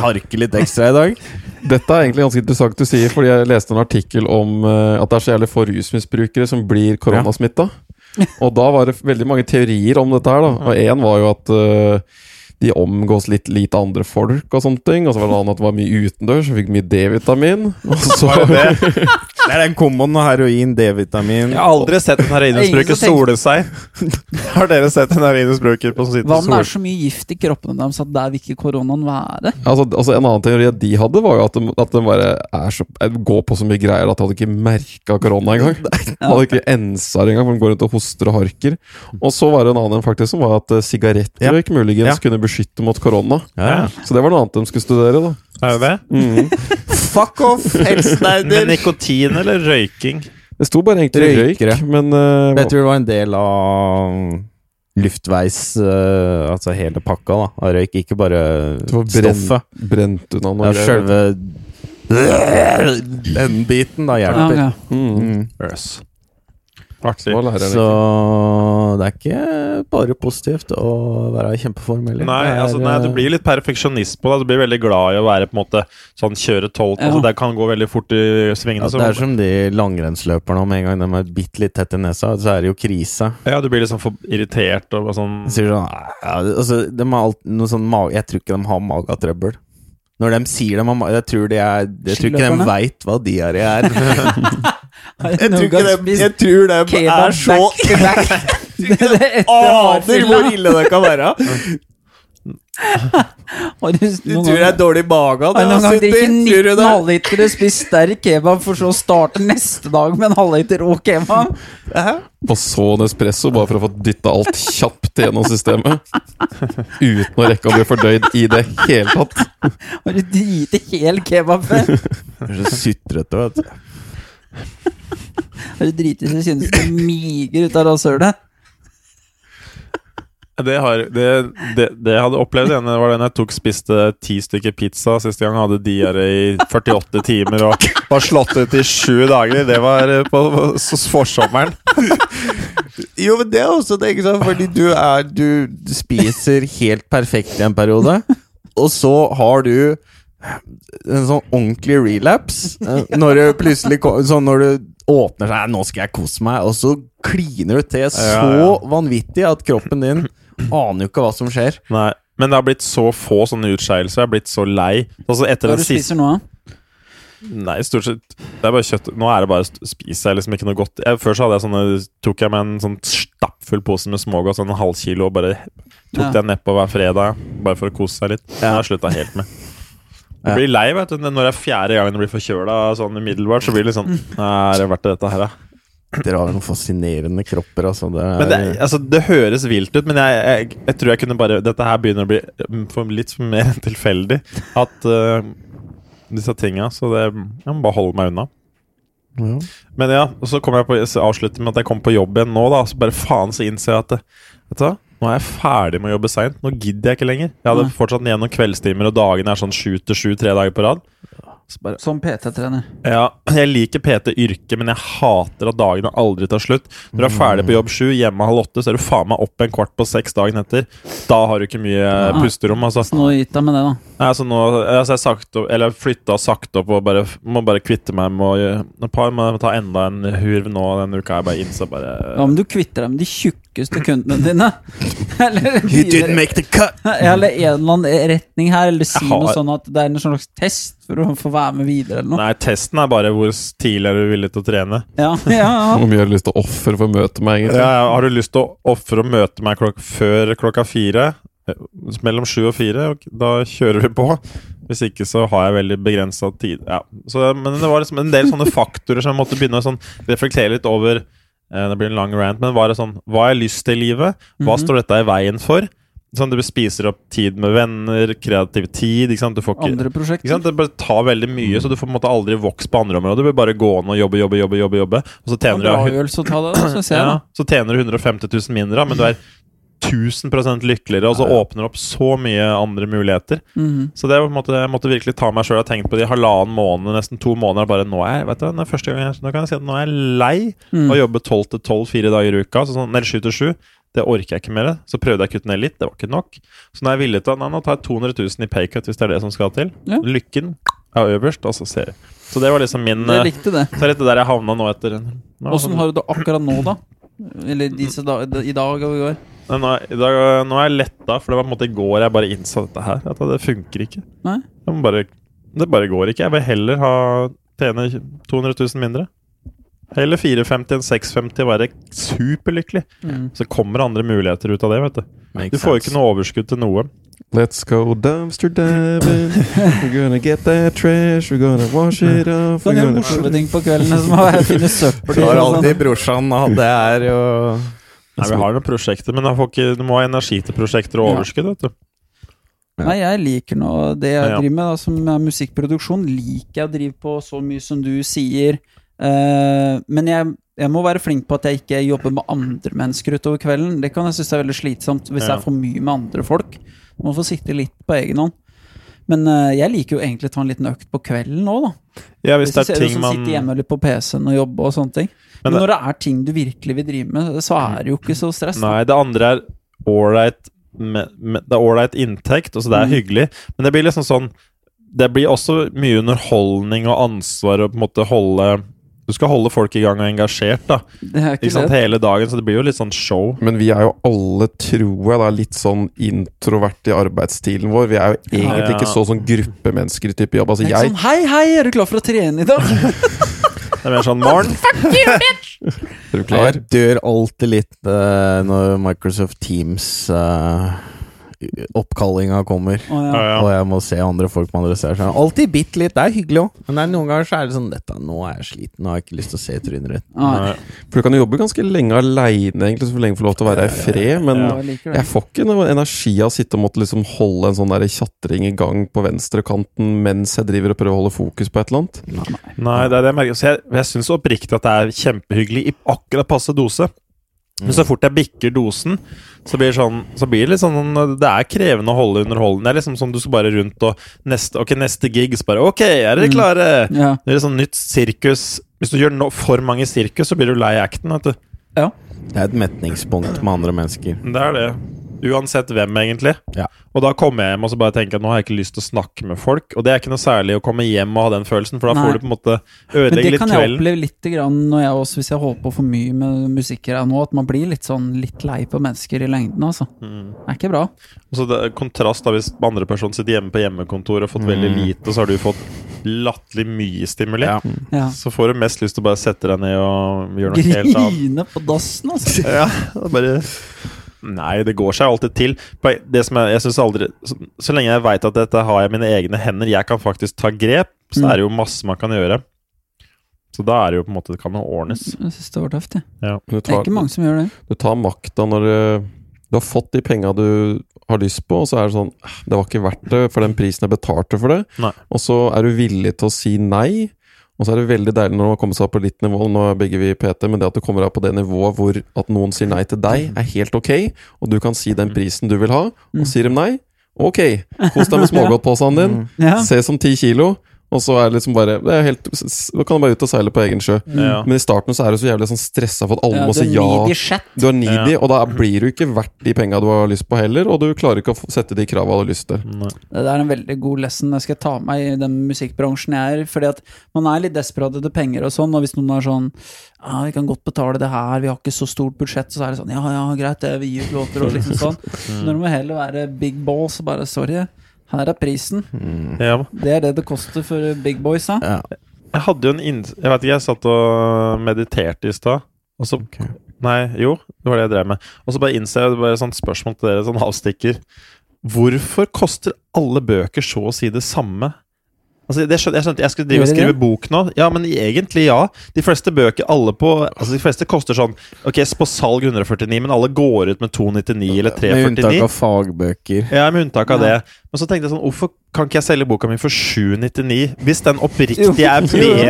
Harke litt ekstra i dag.
Dette er egentlig ganske interessant du sier, fordi jeg leste en artikkel om eh, at det er så jævlig få rusmisbrukere som blir koronasmitta. Og da var det veldig mange teorier om dette her, da. Og én var jo at eh, de omgås litt lite andre folk og sånne ting. Og så var det en annen at det var mye utendørs, og fikk mye D-vitamin. Og så
Jeg
Det er den komboen med heroin, D-vitamin
har aldri sett en
Ingen
heroinmisbruker
som
sole seg. Har dere sett en heroinmisbruker på som sitter
Hva om det
og
er så mye gift i kroppene deres at der vil ikke koronaen være?
Altså, altså En annen teori de hadde, var jo at de, at de bare er så, eh, går på så mye greier at de hadde ikke merka korona engang. De hadde ikke ensa det engang, for de går rundt og hoster og harker. Og så var det en annen faktisk som var at eh, sigarettrøyk muligens
Ja.
kunne beskytte mot korona.
Ja.
Så det var noe annet de skulle studere, da.
Er det det?
Mhm. Fuck off,
Men
helsenauder!
nikotin eller røyking?
Det sto bare egentlig
Røykere.
røyk, men eh,
Jeg tror det var en del av um, luftveis eh, Altså hele pakka da av røyk, ikke bare
det var brent,
stoffet.
brent unna
Det
noe.
er
greier.
sjølve den biten da
Ja,
hjelper.
ja.
Mm.
Mm.
Yes. Artig.
Nå lærer jeg
Så
litt.
det er ikke bare positivt å være i kjempeform heller.
Nei,
Det er, uh,
altså, nei, du blir litt perfeksjonist på det. Du blir veldig glad i å være på en måte sånn kjøre tolv.
Ja.
Altså, det kan gå veldig fort i svingene.
ja,
så-
det er som de langrennsløperne om en gang de er bitte litt tett i nesa, så er det jo krise.
ja, du blir liksom for irritert og bare sånn
De sier sånn ja, altså, de har alt, noe sånn ma- Jeg tror ikke de har magatrøbbel. Når de sier de har ma- Jeg tror, de er, jeg tror ikke
Skiløperne?
de veit hva diaré er. jeg,
Jeg
tror ikke de, jeg tror de
Kebab
er så
back to back. Det er etter
Aner
hardfylla.
hvor ille det kan være!
Har du
Du
noen
tror det
gang-
er dårlig mage av
har du noen gang
det?
drikket
Tror
19
du det?
halvliter og spist sterk kebab, for så å starte neste dag med en halvliter rå kebab?
Hæ?
Og så en espresso, bare for å få dytta alt kjapt gjennom systemet. Uten å rekke å bli fordøyd i det hele tatt.
Har du driti hel kebab før?
Du er så sutrete, vet du.
Har du driti så kjennes det miger ut av rasshølet?
Det, har, det, det, det jeg hadde opplevd, igjen, det var den jeg tok spiste ti stykker pizza siste gang. Hadde diaré i 48 timer og var slått ut i sju dager. Det var eh, på, på s- forsommeren.
Jo, men det er også det, ikke sant? Fordi du er Du spiser helt perfekt i en periode, og så har du en sånn ordentlig relapse eh, når du plutselig ko- Sånn når du åpner seg 'Nå skal jeg kose meg', og så kliner du til så
Ja,
vanvittig at kroppen din aner jo ikke hva som skjer.
Nei. Men det har blitt så få sånne utskeielser. Jeg har blitt så lei. Altså etter
Hva er
den
det du
siste
spiser nå, da?
Nei, stort sett Det er bare kjøtt Nå er det bare st- Spiser jeg liksom ikke noe godt jeg, Før så hadde jeg sånne Tok jeg med en sånn Stappfull pose med smågodt Sånn en halv kilo Og bare Tok
Ja.
den ned på hver fredag Bare for å kose seg litt Det har jeg sluttet helt med
Ja.
Jeg blir lei, vet du Når det er fjerde gangen jeg blir forkjølet Sånn umiddelbart Så blir det litt sånn Nei, er det verdt dette her, da?
Dere har noen fascinerende kropper, altså. Det er,
Men det, altså, det høres vilt ut, men jeg, jeg, jeg tror jeg kunne bare Dette her begynner å bli mm, for litt mer enn tilfeldig. At eh, disse tinga. Så det, jeg må bare holde meg unna.
Ja.
Men ja, og så kom jeg på så avslutter med at jeg kom på jobb igjen nå, da. Så bare faen så innser jeg at eh, Vet du hva? Nå er jeg ferdig med å jobbe seint. Nå gidder jeg ikke lenger. Jeg hadde
Nei.
fortsatt igjen noen kveldstimer, og dagene er sånn sju til sju tre dager på rad. Så bare
Som PT-trener.
ja, jeg liker PT-yrket, men jeg hater at dagene aldri tar slutt. Når du er ferdig på jobb sju, hjemme halv åtte, så er du faen meg opp en kvart på seks dagen etter. Da har du ikke mye eh, pusterom, altså.
Så nå gitt deg med det, da.
Nei, altså nå, altså jeg sagt opp, eller jeg flytta sakte opp og bare, må bare kvitte meg med å gjøre- et par, må ta enda en hurv nå denne uka. Jeg bare innså bare
Ja, men du kvitter deg med de tjukkeste kundene dine. Eller,
You didn't
videre-
make the cut!
eller en eller annen retning her, eller si
Jeg har-
noe sånn at det er en slags test for å få være med videre, eller noe.
Nei, testen er bare hvor s- tidlig er du villig til å trene.
Ja, ja, ja.
Hvor mye har du lyst til å ofre for å møte meg,
Ja,
egentlig?
ja, har du lyst til å ofre å møte meg klok før klokka fire? Eh, Mellom sju og fire, og da kjører vi på. Hvis ikke så har jeg veldig begrensa tid. Ja. Så, men det var liksom en del sånne faktorer som jeg måtte begynne å sånn, reflektere litt over. Eh, det blir en lang rant, men var det sånn Hva har jeg lyst til i livet?
Mhm.
Hva står dette i veien for? Sånn, du spiser opp tid med venner, kreativ tid. Ikke sant? Du får ikke,
Andre
ikke
prosjekter.
sant? Det bare tar veldig mye, så du får på en måte aldri vokst på andre områder. Du blir bare gående og jobbe, jobbe, jobbe, jobbe, jobbe og så tjener du
Bra avgjørelse å ta det, da, syns jeg.
ja,
da.
så tjener du 150 000 mindre, men du er 1000 lykkeligere, og så åpner det opp så mye andre muligheter.
Mhm.
Så det var på en måte, jeg måtte virkelig ta meg sjøl og tenkt på det i halvannen måned, nesten to måneder. Bare nå er jeg, vet du, nå er første gang jeg, nå kan jeg si at nå er jeg lei
Mm.
av å jobbe 12 til 12 fire dager i uka. Så sånn, eller 7 til 7. Det orker jeg ikke mer. Så prøvde jeg å kutte ned litt, det var ikke nok. Så nå er jeg villig til å nei, nå tar jeg 200 000 i paycut hvis det er det som skal til.
Ja.
Lykken er øverst, og så ser jeg. Så det var liksom min
Jeg
eh,
likte det.
Så er dette der jeg havna nå etter nå-
Åssen har du det akkurat nå, da? Eller disse da, i dag og i går?
Nei, Nå, er- i dag, nå er jeg letta, for det var på en måte i går jeg bare innså dette her. At det funker ikke.
Nei?
Jeg må bare, det bare går ikke. Jeg vil heller ha tjene 200 000 mindre. Heller 450 enn 650 og være superlykkelig.
Mhm.
Så kommer andre muligheter ut av det, vet du. Du
Makes
får jo
sense.
ikke noe overskudd til noe.
Let's go dumpster diving. We're gonna get that trash. We're gonna wash it off.
Så
We're
det er
gonna...
morsomme ting på kveldene som å finne søppel
Det
i.
var
og sånn.
alltid brorsan, og det er jo
Nei, Vi har noen prosjekter, men da får ikke, du må ha energi til prosjekter og
Ja.
overskudd, vet du.
Ja.
Nei, jeg liker nå det jeg
Ja.
driver med, da, som er musikkproduksjon. Liker jeg å drive på så mye som du sier. Eh, men jeg, jeg må være flink på at jeg ikke jobber med andre mennesker utover kvelden. Det kan jeg synes er veldig slitsomt hvis det
Ja.
er for mye med andre folk. Man får sitte litt på egen hånd. Men eh, jeg liker jo egentlig å ta en liten økt på kvelden òg, da.
Ja, hvis det
Hvis du
er
ser du
ting
som
man
sitter hjemme eller på PC-en og jobber og sånne ting.
Men
Men,
det-
når det er ting du virkelig vil drive med, så er det jo ikke så stress. da.
Nei, det andre er ålreit me- me- Det er ålreit inntekt, altså det er
Mm.
hyggelig, men det blir liksom sånn Det blir også mye underholdning og ansvar og på en måte holde Du skal holde folk i gang og engasjert, da.
Det er
Ikke
ikke
sant,
det.
hele dagen, så det blir jo litt sånn show.
Men vi er jo alle, tror jeg, da, litt sånn introvert i arbeidsstilen vår. Vi er jo egentlig
Ja.
ikke så sånn gruppemennesker i type jobb. Altså,
Det er ikke
jeg
sånn, Hei, hei, er du klar for å trene i dag?
Det er mer sånn morgen.
Er du klar?
Jeg dør alltid litt eh, når Microsoft Teams-oppkallinga kommer.
Å, ja.
Ja,
Og
ja.
jeg må se andre folk man adresserer seg. Alltid bitte litt. Det er hyggelig òg. Men det er noen ganger så er det sånn Dette, nå er jeg sliten. Nå har jeg ikke lyst til å se trynet ditt.
Nei,
For du kan jo jobbe ganske lenge aleine, egentlig, så lenge du får lov til å være i fred. Men
jeg liker det.
jeg får ikke noe energi av å sitte og måtte liksom holde en sånn der tjatring i gang på venstrekanten mens jeg driver og prøver å holde fokus på et eller annet.
Nei, det er det jeg merker. Så jeg, jeg syns oppriktig at det er kjempehyggelig i akkurat passe dose. Men
Mm.
så fort jeg bikker dosen, så blir det sånn Så blir det litt sånn Det er krevende å holde underholdende. Det er liksom sånn du skal bare rundt og neste, Ok, neste gig, så bare Ok, er dere
Mm.
klare?
Ja.
Det er litt sånn nytt sirkus. Hvis du gjør no for mange sirkus, så blir du lei acten, vet du.
Ja.
Det er et metningspunkt med andre mennesker.
Men Det er det. Uansett hvem, egentlig.
Ja.
Og da kommer jeg hjem og så bare tenker at nå har jeg ikke lyst til å snakke med folk. Og det er ikke noe særlig å komme hjem og ha den følelsen, for da
Nei.
får du på en måte
Men det
ødelegge litt
kan jeg
kvelden.
oppleve litt grann når jeg også, hvis jeg holder på for mye med musikk her nå, at man blir litt sånn litt lei på mennesker i lengden, altså. Det er ikke bra.
Og så det er kontrast da hvis andre personen sitter hjemme på hjemmekontor og fått veldig lite, så har du fått latterlig mye stimuli.
Ja.
Ja.
Så får du mest lyst til å bare sette deg ned og gjøre noe helt annet.
Grine på dassen, altså.
Ja, og bare Nei, det går seg alltid til. På- Det som jeg, jeg synes aldri så, så lenge jeg veit at dette har jeg i mine egne hender, jeg kan faktisk ta grep, så
Mm.
er det jo masse man kan gjøre. Så da er det jo på en måte Det kan jo ordnes.
Jeg syns det var tøft, jeg.
Men du
Det er
tar,
ikke mange som gjør det.
du tar makta når du, du har fått de penga du har lyst på, og så er det sånn "Ah, Det var ikke verdt det for den prisen jeg betalte for det.
Nei.
Og så er du villig til å si nei. Og så er det veldig deilig når man kommer seg opp på litt nivå, nå er begge vi i PT, men det at du kommer opp på det nivået hvor at noen sier nei til deg, er helt ok, og du kan si den prisen du vil ha,
Mm.
og sier dem nei, ok, kos deg med smågodtposen din,
Mm. Ja.
se som 10 kilo, og så er det liksom bare det er helt, s- s- Da kan du bare ut og seile på egen sjø.
Ja.
Men i starten så er du så jævlig sånn stressa for at alle
Ja, du
må si
er
ja.
needy shit.
Du er needy,
Ja.
og da blir du ikke verdt de penga du har lyst på heller, og du klarer ikke å f- sette de krava du har lyst til.
Nei.
Det der er en veldig god lesson jeg skal ta med meg i den musikkbransjen jeg er. Fordi at man er litt desperat etter penger og sånn, og hvis noen er sånn Ja, vi kan godt betale det her, vi har ikke så stort budsjett, så er det sånn Ja, ja, greit, det, vi gir ut låter og liksom sånn. Når det må heller være big balls og bare sorry, her er prisen.
Hmm.
Ja.
Det er det det koster for big boys, da.
Ja.
Jeg hadde jo en inn... Jeg vet ikke, jeg satt og mediterte i stad, og så Nei, jo, det var det jeg drev med. Og så bare innser jeg det var et sånt spørsmål til dere, sånn avstikker. Hvorfor koster alle bøker så å si det samme? Altså, det skjønte, jeg skjønte jeg skulle drive og
Gjør de
skrive
det?
bok nå. Ja, men egentlig ja. De fleste bøker alle på Altså, de fleste koster sånn Ok, på salg 149, men alle går ut med 299 eller
Med unntak
349.
av fagbøker.
Ja, med unntak av
Ja.
det. Men så tenkte jeg sånn, hvorfor kan ikke jeg selge boka mi for 799? Hvis den
Jo.
oppriktig er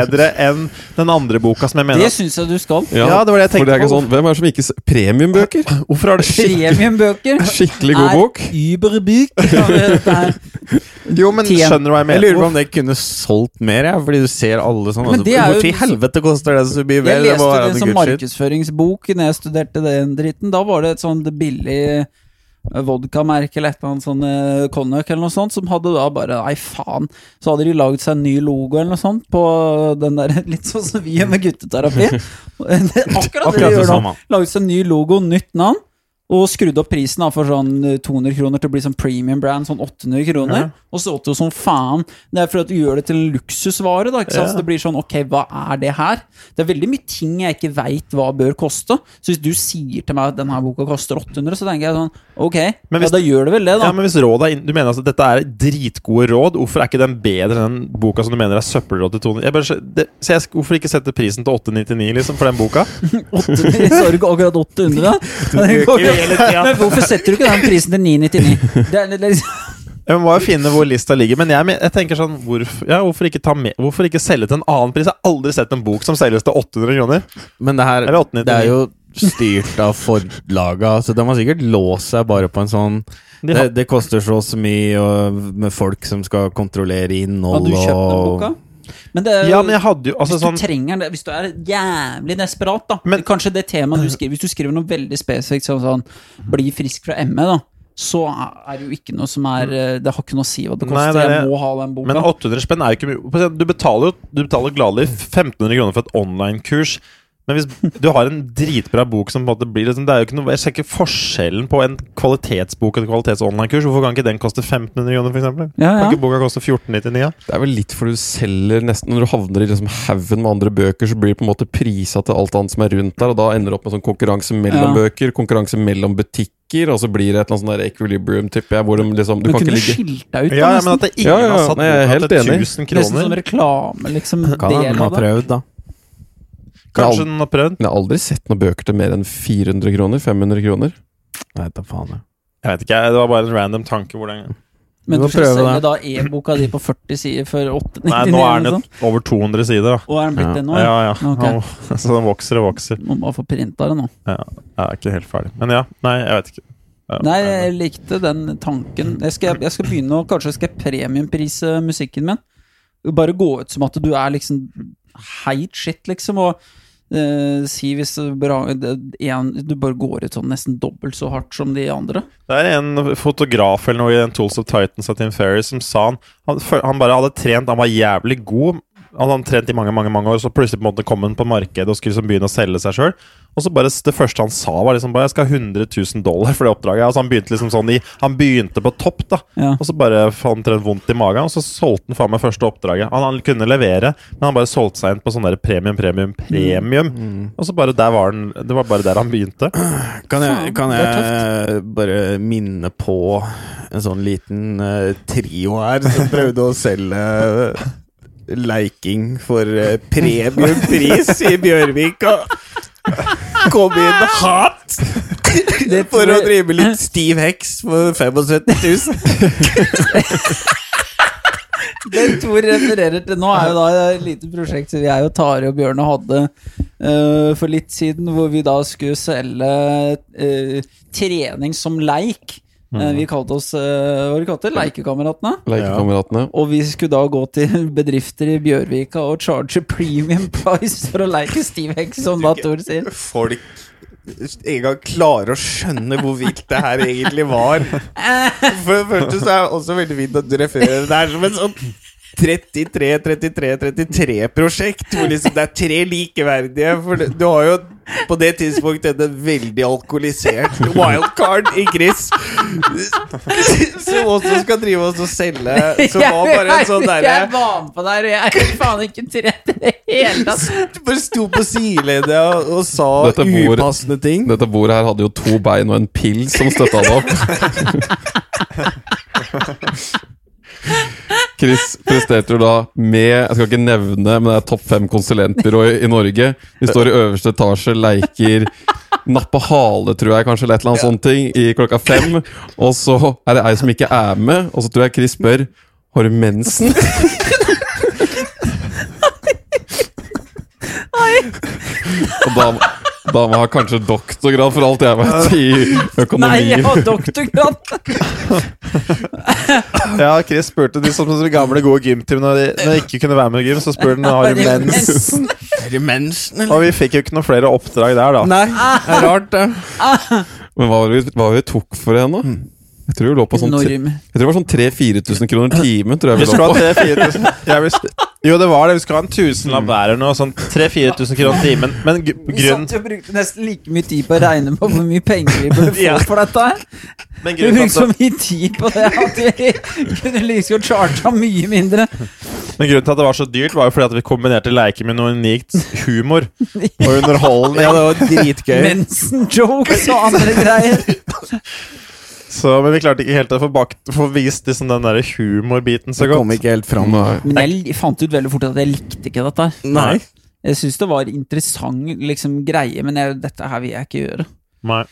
bedre enn den andre boka som jeg mener
Det syns jeg du skal.
ja, det var det jeg
For
tenkte
det er
på.
ikke sånn, Hvem er det som ikke s- Premiumbøker?
Hvorfor har det skjedd?
Premiumbøker
Skikkelig god bok.
überbyk. Ja, det- det er-
Jo, men
Tjen-
skjønner du hva jeg
Jeg lurer
mener?
på om det kunne solgt mer, jeg, fordi du ser alle sånn.
Men
Altså,
det er jo-
Hvorfor i helvete koster det så mye mer?
Jeg
Det
leste
må være
det
noe
som
good shit.
markedsføringsbok når jeg studerte den dritten. Da var det et sånt billig eh, vodkamerke eller et eller annet sånn eh, cognac eller noe sånt, som hadde da bare Nei, faen. Så hadde de lagd seg en ny logo eller noe sånt på den der Litt sånn som vi gjør med gutteterapi. Det er Akkurat det
Akkurat
de
det
gjør nå.
samme.
Lagd seg en ny logo, nytt navn. Og skrudd opp prisen da, for sånn eh, 200 kroner til å bli sånn premium brand, sånn 800 kroner. Og solgte jo som faen. Det er fordi at du gjør det til en luksusvare. da, ikke sant?
Ja.
Så det blir sånn, ok, hva er det her? Det er veldig mye ting jeg ikke veit hva bør koste. Så hvis du sier til meg at denne boka koster 800, så tenker jeg sånn, ok,
Men hvis-
ja, da gjør det vel det, da.
Ja, men hvis rådet er inn- Du mener altså at dette er dritgode råd, hvorfor er ikke den bedre enn den boka som du mener er søppelråd til 200? Jeg bare, skjø- det, så jeg, sk- hvorfor ikke sette prisen til 899 liksom, for den boka?
800, så har du ikke akkurat 800, da. Men, det går jo- men hvorfor setter du ikke den prisen til 999? Det er, det er liksom,
Jeg må jo finne hvor lista ligger, men jeg, men- jeg tenker sånn hvorfor, ja, hvorfor, ikke ta med, hvorfor ikke selge til en annen pris? Jeg har aldri sett en bok som selges til 800 kroner.
Men det her
Eller 899.
Det er jo styrt av forlaga, så de har sikkert låst seg bare på en sånn
De har-
det, det koster så og så mye og, med folk som skal kontrollere innhold
Hadde du kjøpt den
og-
boka? Men det er jo
Ja, men jeg hadde jo altså
hvis
sånn
du trenger det, hvis du er jævlig desperat, da
Men-
Kanskje det temaet du skriver Hvis du skriver noe veldig spesifikt, som sånn 'bli frisk fra ME', da så er det jo ikke noe som er eh, Det har ikke noe å si hva det
Mm. Nei,
koster.
det er
jeg
det.
må ha den boka.
Men 800 spenn er jo ikke mye. Du betaler jo du betaler gladelig 1500 kroner for et online-kurs. Men hvis du har en dritbra bok som på en måte blir liksom, det er jo ikke noe, Jeg ser ikke forskjellen på en kvalitetsbok og et kvalitets-online-kurs. Hvorfor kan ikke den koste 1500 kroner, f.eks.?
ja,
Kan
ja.
ikke boka koste 1499?
Det er vel litt fordi du selger nesten Når du havner i liksom haugen med andre bøker, så blir det på en måte prisa til alt annet som er rundt der, og da ender det opp med sånn konkurranse mellom
Ja.
bøker, konkurranse mellom butikker, og så blir det et eller annet sånn der equilibrium, tipper jeg, hvor de liksom Du
Du
kan ikke
kunne
ligge
skilt deg ut, da,
Ja, ja, men
nesten.
at det ingen
Ja, ja,
har satt
nei, jeg er
boka
helt
til
enig.
1000
Nesten som
kroner.
reklame, liksom.
Kan hende
Del
de har
av det.
prøvd, da.
Kanskje den har prøvd?
Jeg har aldri sett noen bøker til mer enn 400 kroner, 500 kroner.
Jeg vet da faen. jeg.
Jeg vet ikke, Det var bare en random tanke. Hvor den,
Men du
Du må
skal
prøve
selge
det.
da e-boka di på 40 sider for 899?
nei, nå er
eller
den
sånn.
et- over 200 sider, da.
Og er den blitt
Ja.
det nå?
Ja, ja.
Ok.
Han- Så den vokser og vokser.
Må bare få printa det nå.
Jeg er ikke helt ferdig. Men ja. Nei, jeg vet ikke. Ja,
Nei,
jeg-
jeg likte den tanken. Jeg skal, jeg skal begynne å Kanskje skal jeg premiumprise musikken min. Bare gå ut som at du er liksom heit shit, liksom. Og eh, si hvis det er bra, det, en, Du bare går ut sånn nesten dobbelt så hardt som de andre.
Det er en fotograf eller noe i den Tools of Titans av Tim Ferry som sa han, han føl- Han bare hadde trent, han var jævlig god. Han hadde trent i mange mange, mange år, så plutselig på en måte kom han på markedet og skulle liksom begynne å selge seg sjøl. Og så bare s- Det første han sa, var liksom bare 'Jeg skal ha 100 000 dollar for det oppdraget'. Altså Han begynte liksom sånn i Han begynte på topp, da.
Ja.
Og så bare fant han vondt i magen, og så solgte han faen meg første oppdraget. Han, han kunne levere, men han bare solgte seg inn på sånn der premium, premium, premium. Og så bare der var han Det var bare der han begynte.
Kan
Faen,
jeg, kan
det er
jeg bare minne på en sånn liten eh, trio her som prøvde å selge eh, Leiking for eh, premiumpris i Bjørvika. Kom inn hardt for å drive litt stiv heks for 75 000.
Det Tor refererer til nå, er jo da et lite prosjekt som jeg og Tare og Bjørne hadde eh, for litt siden, hvor vi da skulle selge eh, trening som leik. Eh, vi kalte oss eh, Hva var det vi kalte det? Leikekameratene?
Lekekameratene.
Og vi skulle da gå til bedrifter i Bjørvika og charge premium price for å leke Steve Hex, som da Tor sier.
Folk en gang klarer å skjønne hvor vilt det her egentlig var. For det første så er det også veldig fint at du refererer det her som en sånn 33-33-33-prosjekt, hvor liksom det er tre likeverdige. For det- du har jo på det tidspunktet en veldig alkoholisert wildcard i Chris, som også skal drive oss og selge, som var bare en sånn derre
Jeg var med på det her, og jeg er faen ikke trett i det hele tatt.
Du bare sto på sidelinja og, og sa
Dette bor-
upassende ting.
Dette bordet her hadde jo to bein og en pils som støtta det opp. Chris presterte jo da med Jeg skal ikke nevne, men det er topp fem konsulentbyrå i, i Norge. Vi står i øverste etasje, leiker Nappe hale, tror jeg, kanskje, eller et eller annet sånt ting, i klokka fem. Og så er det ei som ikke er med, og så tror jeg Chris spør Har du mensen? Og da, da må ha kanskje doktorgrad, for alt jeg vet, i økonomi.
Nei, jeg har doktorgrad!
Ja, Chris spurte de som de gamle, gode gymtimene når, de- når de ikke kunne være med i gym, så spurte han har du mens.
Er det mensen, eller?
Og vi fikk jo ikke noen flere oppdrag der, da.
Nei, det er rart, det.
Men hva var det vi, hva var det vi tok for henne? Jeg tror det lå på sånn tre-
Norm.
Jeg tror det var sånn 3000-4000 kroner timen. tror jeg
Vi
vi
skulle ha
lå på.
3000-4000 Jeg visste- Jo, det var det. Vi skulle ha en tusenlapp hver eller noe sånn 3000-4000 kroner timen. Men gr-
Vi
grunnen
satt jo og brukte nesten like mye tid på å regne på hvor mye penger vi burde få
Ja.
for dette her.
men
Vi
grunnen
brukte så
til
liksom-
at
mye tid på det at vi kunne like godt charta mye mindre.
det- men grunnen til at det var så dyrt, var jo fordi at vi kombinerte leker med noe unikt humor og
Ja,
underholdning.
det var dritgøy.
Mensen-jokes og andre greier.
Så, men vi klarte ikke helt å få, bakt, få vist liksom den der humorbiten så
det kom
godt.
ikke helt fram.
Nei.
Men jeg li- fant ut veldig fort at jeg likte ikke dette. her.
Nei.
Jeg syns det var interessant liksom, greie, men jeg, dette her vil jeg ikke gjøre.
Nei.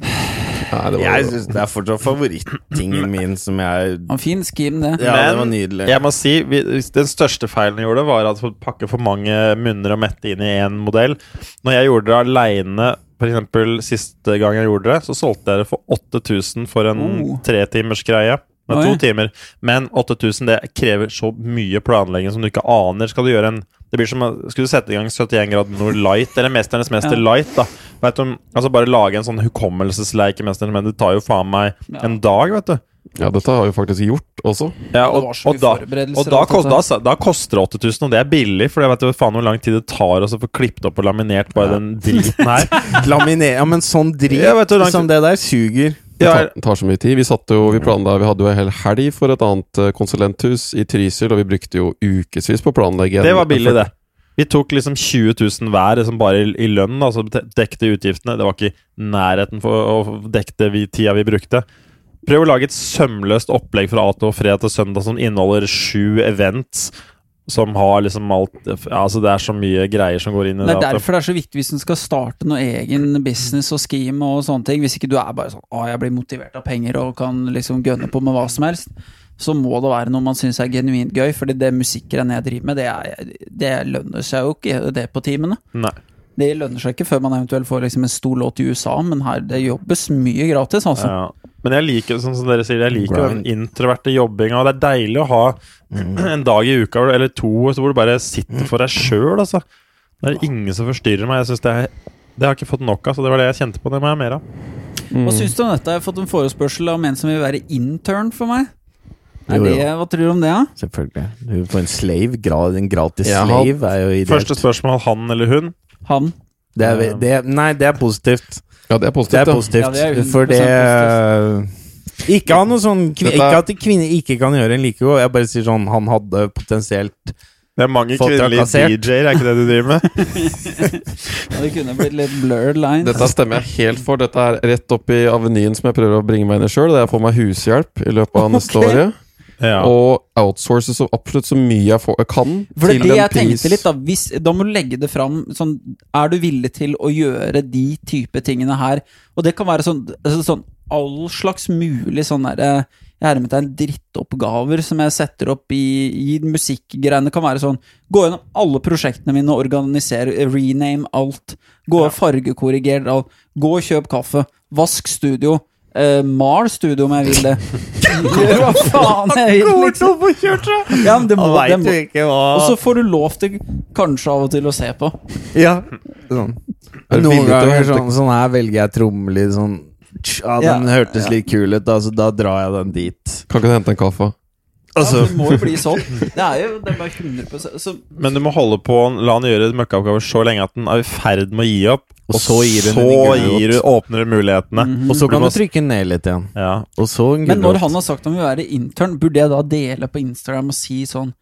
Nei, det var
Jeg
jo
syns det er fortsatt favorittingen min som jeg
Han fin skim, det.
Ja, det var
Men-
nydelig.
Jeg må si, vi, Den største feilen jeg gjorde, var at for å pakke for mange munner og mette inn i én modell. Når jeg gjorde det aleine, f.eks. siste gang jeg gjorde det, så solgte jeg det for 8000 for en
Oh.
tretimersgreie. Med
Oi.
to timer. Men 8000 det krever så mye planlegging som du ikke aner. Skal du gjøre en det blir som å- Skulle du sette i gang 71 grader nord light, eller Mesternes mester
Ja.
light, da vet du, om- Altså Bare lage en sånn hukommelsesleik i Mesternes mester, det tar jo faen meg
Ja.
en dag, vet du.
Ja, dette har jeg jo faktisk gjort også.
Ja,
Det
og,
var så
og,
mye
da,
forberedelser
og da,
og alt
kost,
dette.
da, sa- da koster det 8000, og det er billig, for jeg vet jo faen hvor lang tid det tar å så få klippet opp og laminert bare den driten her.
Laminer, ja, men sånn drit
Jeg vet hvor langt-
som det der suger.
Det
Ja,
tar, tar så mye tid. Vi satt jo, vi planla, vi hadde jo en hel helg for et annet eh, konsulenthus i Trysil, og vi brukte jo ukevis på å planlegge. en-
det var billig, det. Vi tok liksom 20 000 hver liksom bare i, i lønn, altså dekte utgiftene. Det var ikke i nærheten for å dekke det vi, tida vi brukte. Prøv å lage et sømløst opplegg fra A til Å, fredag til søndag som inneholder sju events. Som har liksom alt ja, Altså, det er så mye greier som går inn i
Det er
at-
derfor det er så viktig hvis du skal starte noe egen business og scheme og sånne ting. Hvis ikke du er bare sånn 'Å, jeg blir motivert av penger og kan liksom gønne på med hva som helst', så må det være noe man syns er genuint gøy. Fordi det musikkgreiene jeg driver med, det, er, det lønner seg jo ikke det på timene.
Nei.
Det lønner seg ikke før man eventuelt får liksom en stor låt i USA, men her det jobbes mye gratis, altså.
Ja. Men jeg liker sånn som dere sier, jeg liker
Grind. Mm.
den introverte jobbinga. og Det er deilig å ha en dag i uka eller to så hvor du bare sitter for deg sjøl. Altså. Det er ingen som forstyrrer meg. Jeg synes det, er, det har jeg ikke fått nok av, så det var det jeg kjente på. Det må jeg ha mer av.
Mm.
Hva syns du om dette? Jeg har fått en forespørsel om en som vil være intern for meg. Er
Jo, jo.
det, hva tror du om det, da?
Selvfølgelig. Du får en slave. Grad, en gratis
Ja, han-
slave er jo ideelt.
Første spørsmål han eller hun.
Han?
Det er, ve- det, nei, det er positivt.
Ja, det er
Det
positivt.
er
ja.
positivt.
Ja, det er 100%
for det Ikke ha noe sånn kvin-
Dette er-
Ikke at kvinner ikke kan gjøre en like god. Jeg bare sier sånn Han hadde potensielt
Det er mange
Fått
kvinnelige
trakassert.
DJ-er, er ikke det du driver med?
Ja, det kunne blitt litt blurred lines.
Dette stemmer jeg helt for. Dette er rett opp i avenyen som jeg prøver å bringe meg inn i sjøl. Jeg får meg hushjelp i løpet av neste
Ok.
året.
Ja.
Og outsource så absolutt så mye jeg, får, jeg kan.
For det er
til
det
en
jeg tenkte
pris-
litt, da. Hvis, da må du legge det fram sånn Er du villig til å gjøre de type tingene her? Og det kan være sånn, altså, sånn all slags mulig sånn derre Jeg hermet deg en drittoppgaver som jeg setter opp i, i musikkgreiene. Det kan være sånn Gå gjennom alle prosjektene mine og organisere, rename alt. Gå og fargekorriger alt. Gå og kjøp kaffe. Vask studio. Eh, mal studio om jeg vil det. Gjør hva faen jeg vil, liksom. Ja, men det må, det
Han veit
må,
jo ikke hva
og så får du lov til kanskje av og til å se på.
Ja. Sånn.
Er du villig til å
Noen ganger
hente-
sånn, sånn her velger jeg trommelyd sånn tsk, Ja, den
Ja,
hørtes litt kul ut, da, så da drar jeg den dit.
Kan ikke du hente en kaffe?
ja, det må jo bli sånn. Det er jo det er bare 100 så,
Men du må holde på, la han gjøre møkkaoppgaver så lenge at han er i ferd med å gi opp.
Og så gir hun
så
en gulrot.
gir du, åpner du mulighetene.
Og så
Du
kan
må
du trykke ned litt igjen.
Ja.
Og så en
Men
gulrot.
når han har sagt han vil være intern, burde jeg da dele på Instagram og si sånn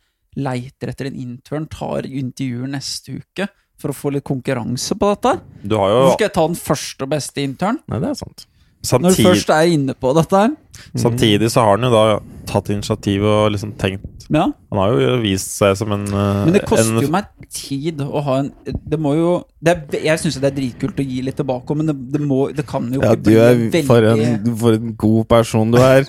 Leiter etter en intern, tar intervjuer neste uke for å få litt konkurranse på dette? her?
Du har
Hvorfor
jo
skal jeg ta den første og beste intern?
Nei, det er sant.
Når du
samtidig
først er inne på dette her.
Samtidig så har han jo da tatt initiativ og liksom tenkt
Ja.
Han har jo vist seg som en eh,
Men det koster
en,
jo meg tid å ha en Det må jo det er, Jeg syns det er dritkult å gi litt tilbake, men det, det, må, det kan jo
Ja,
ikke
du er for en, for en god person du er.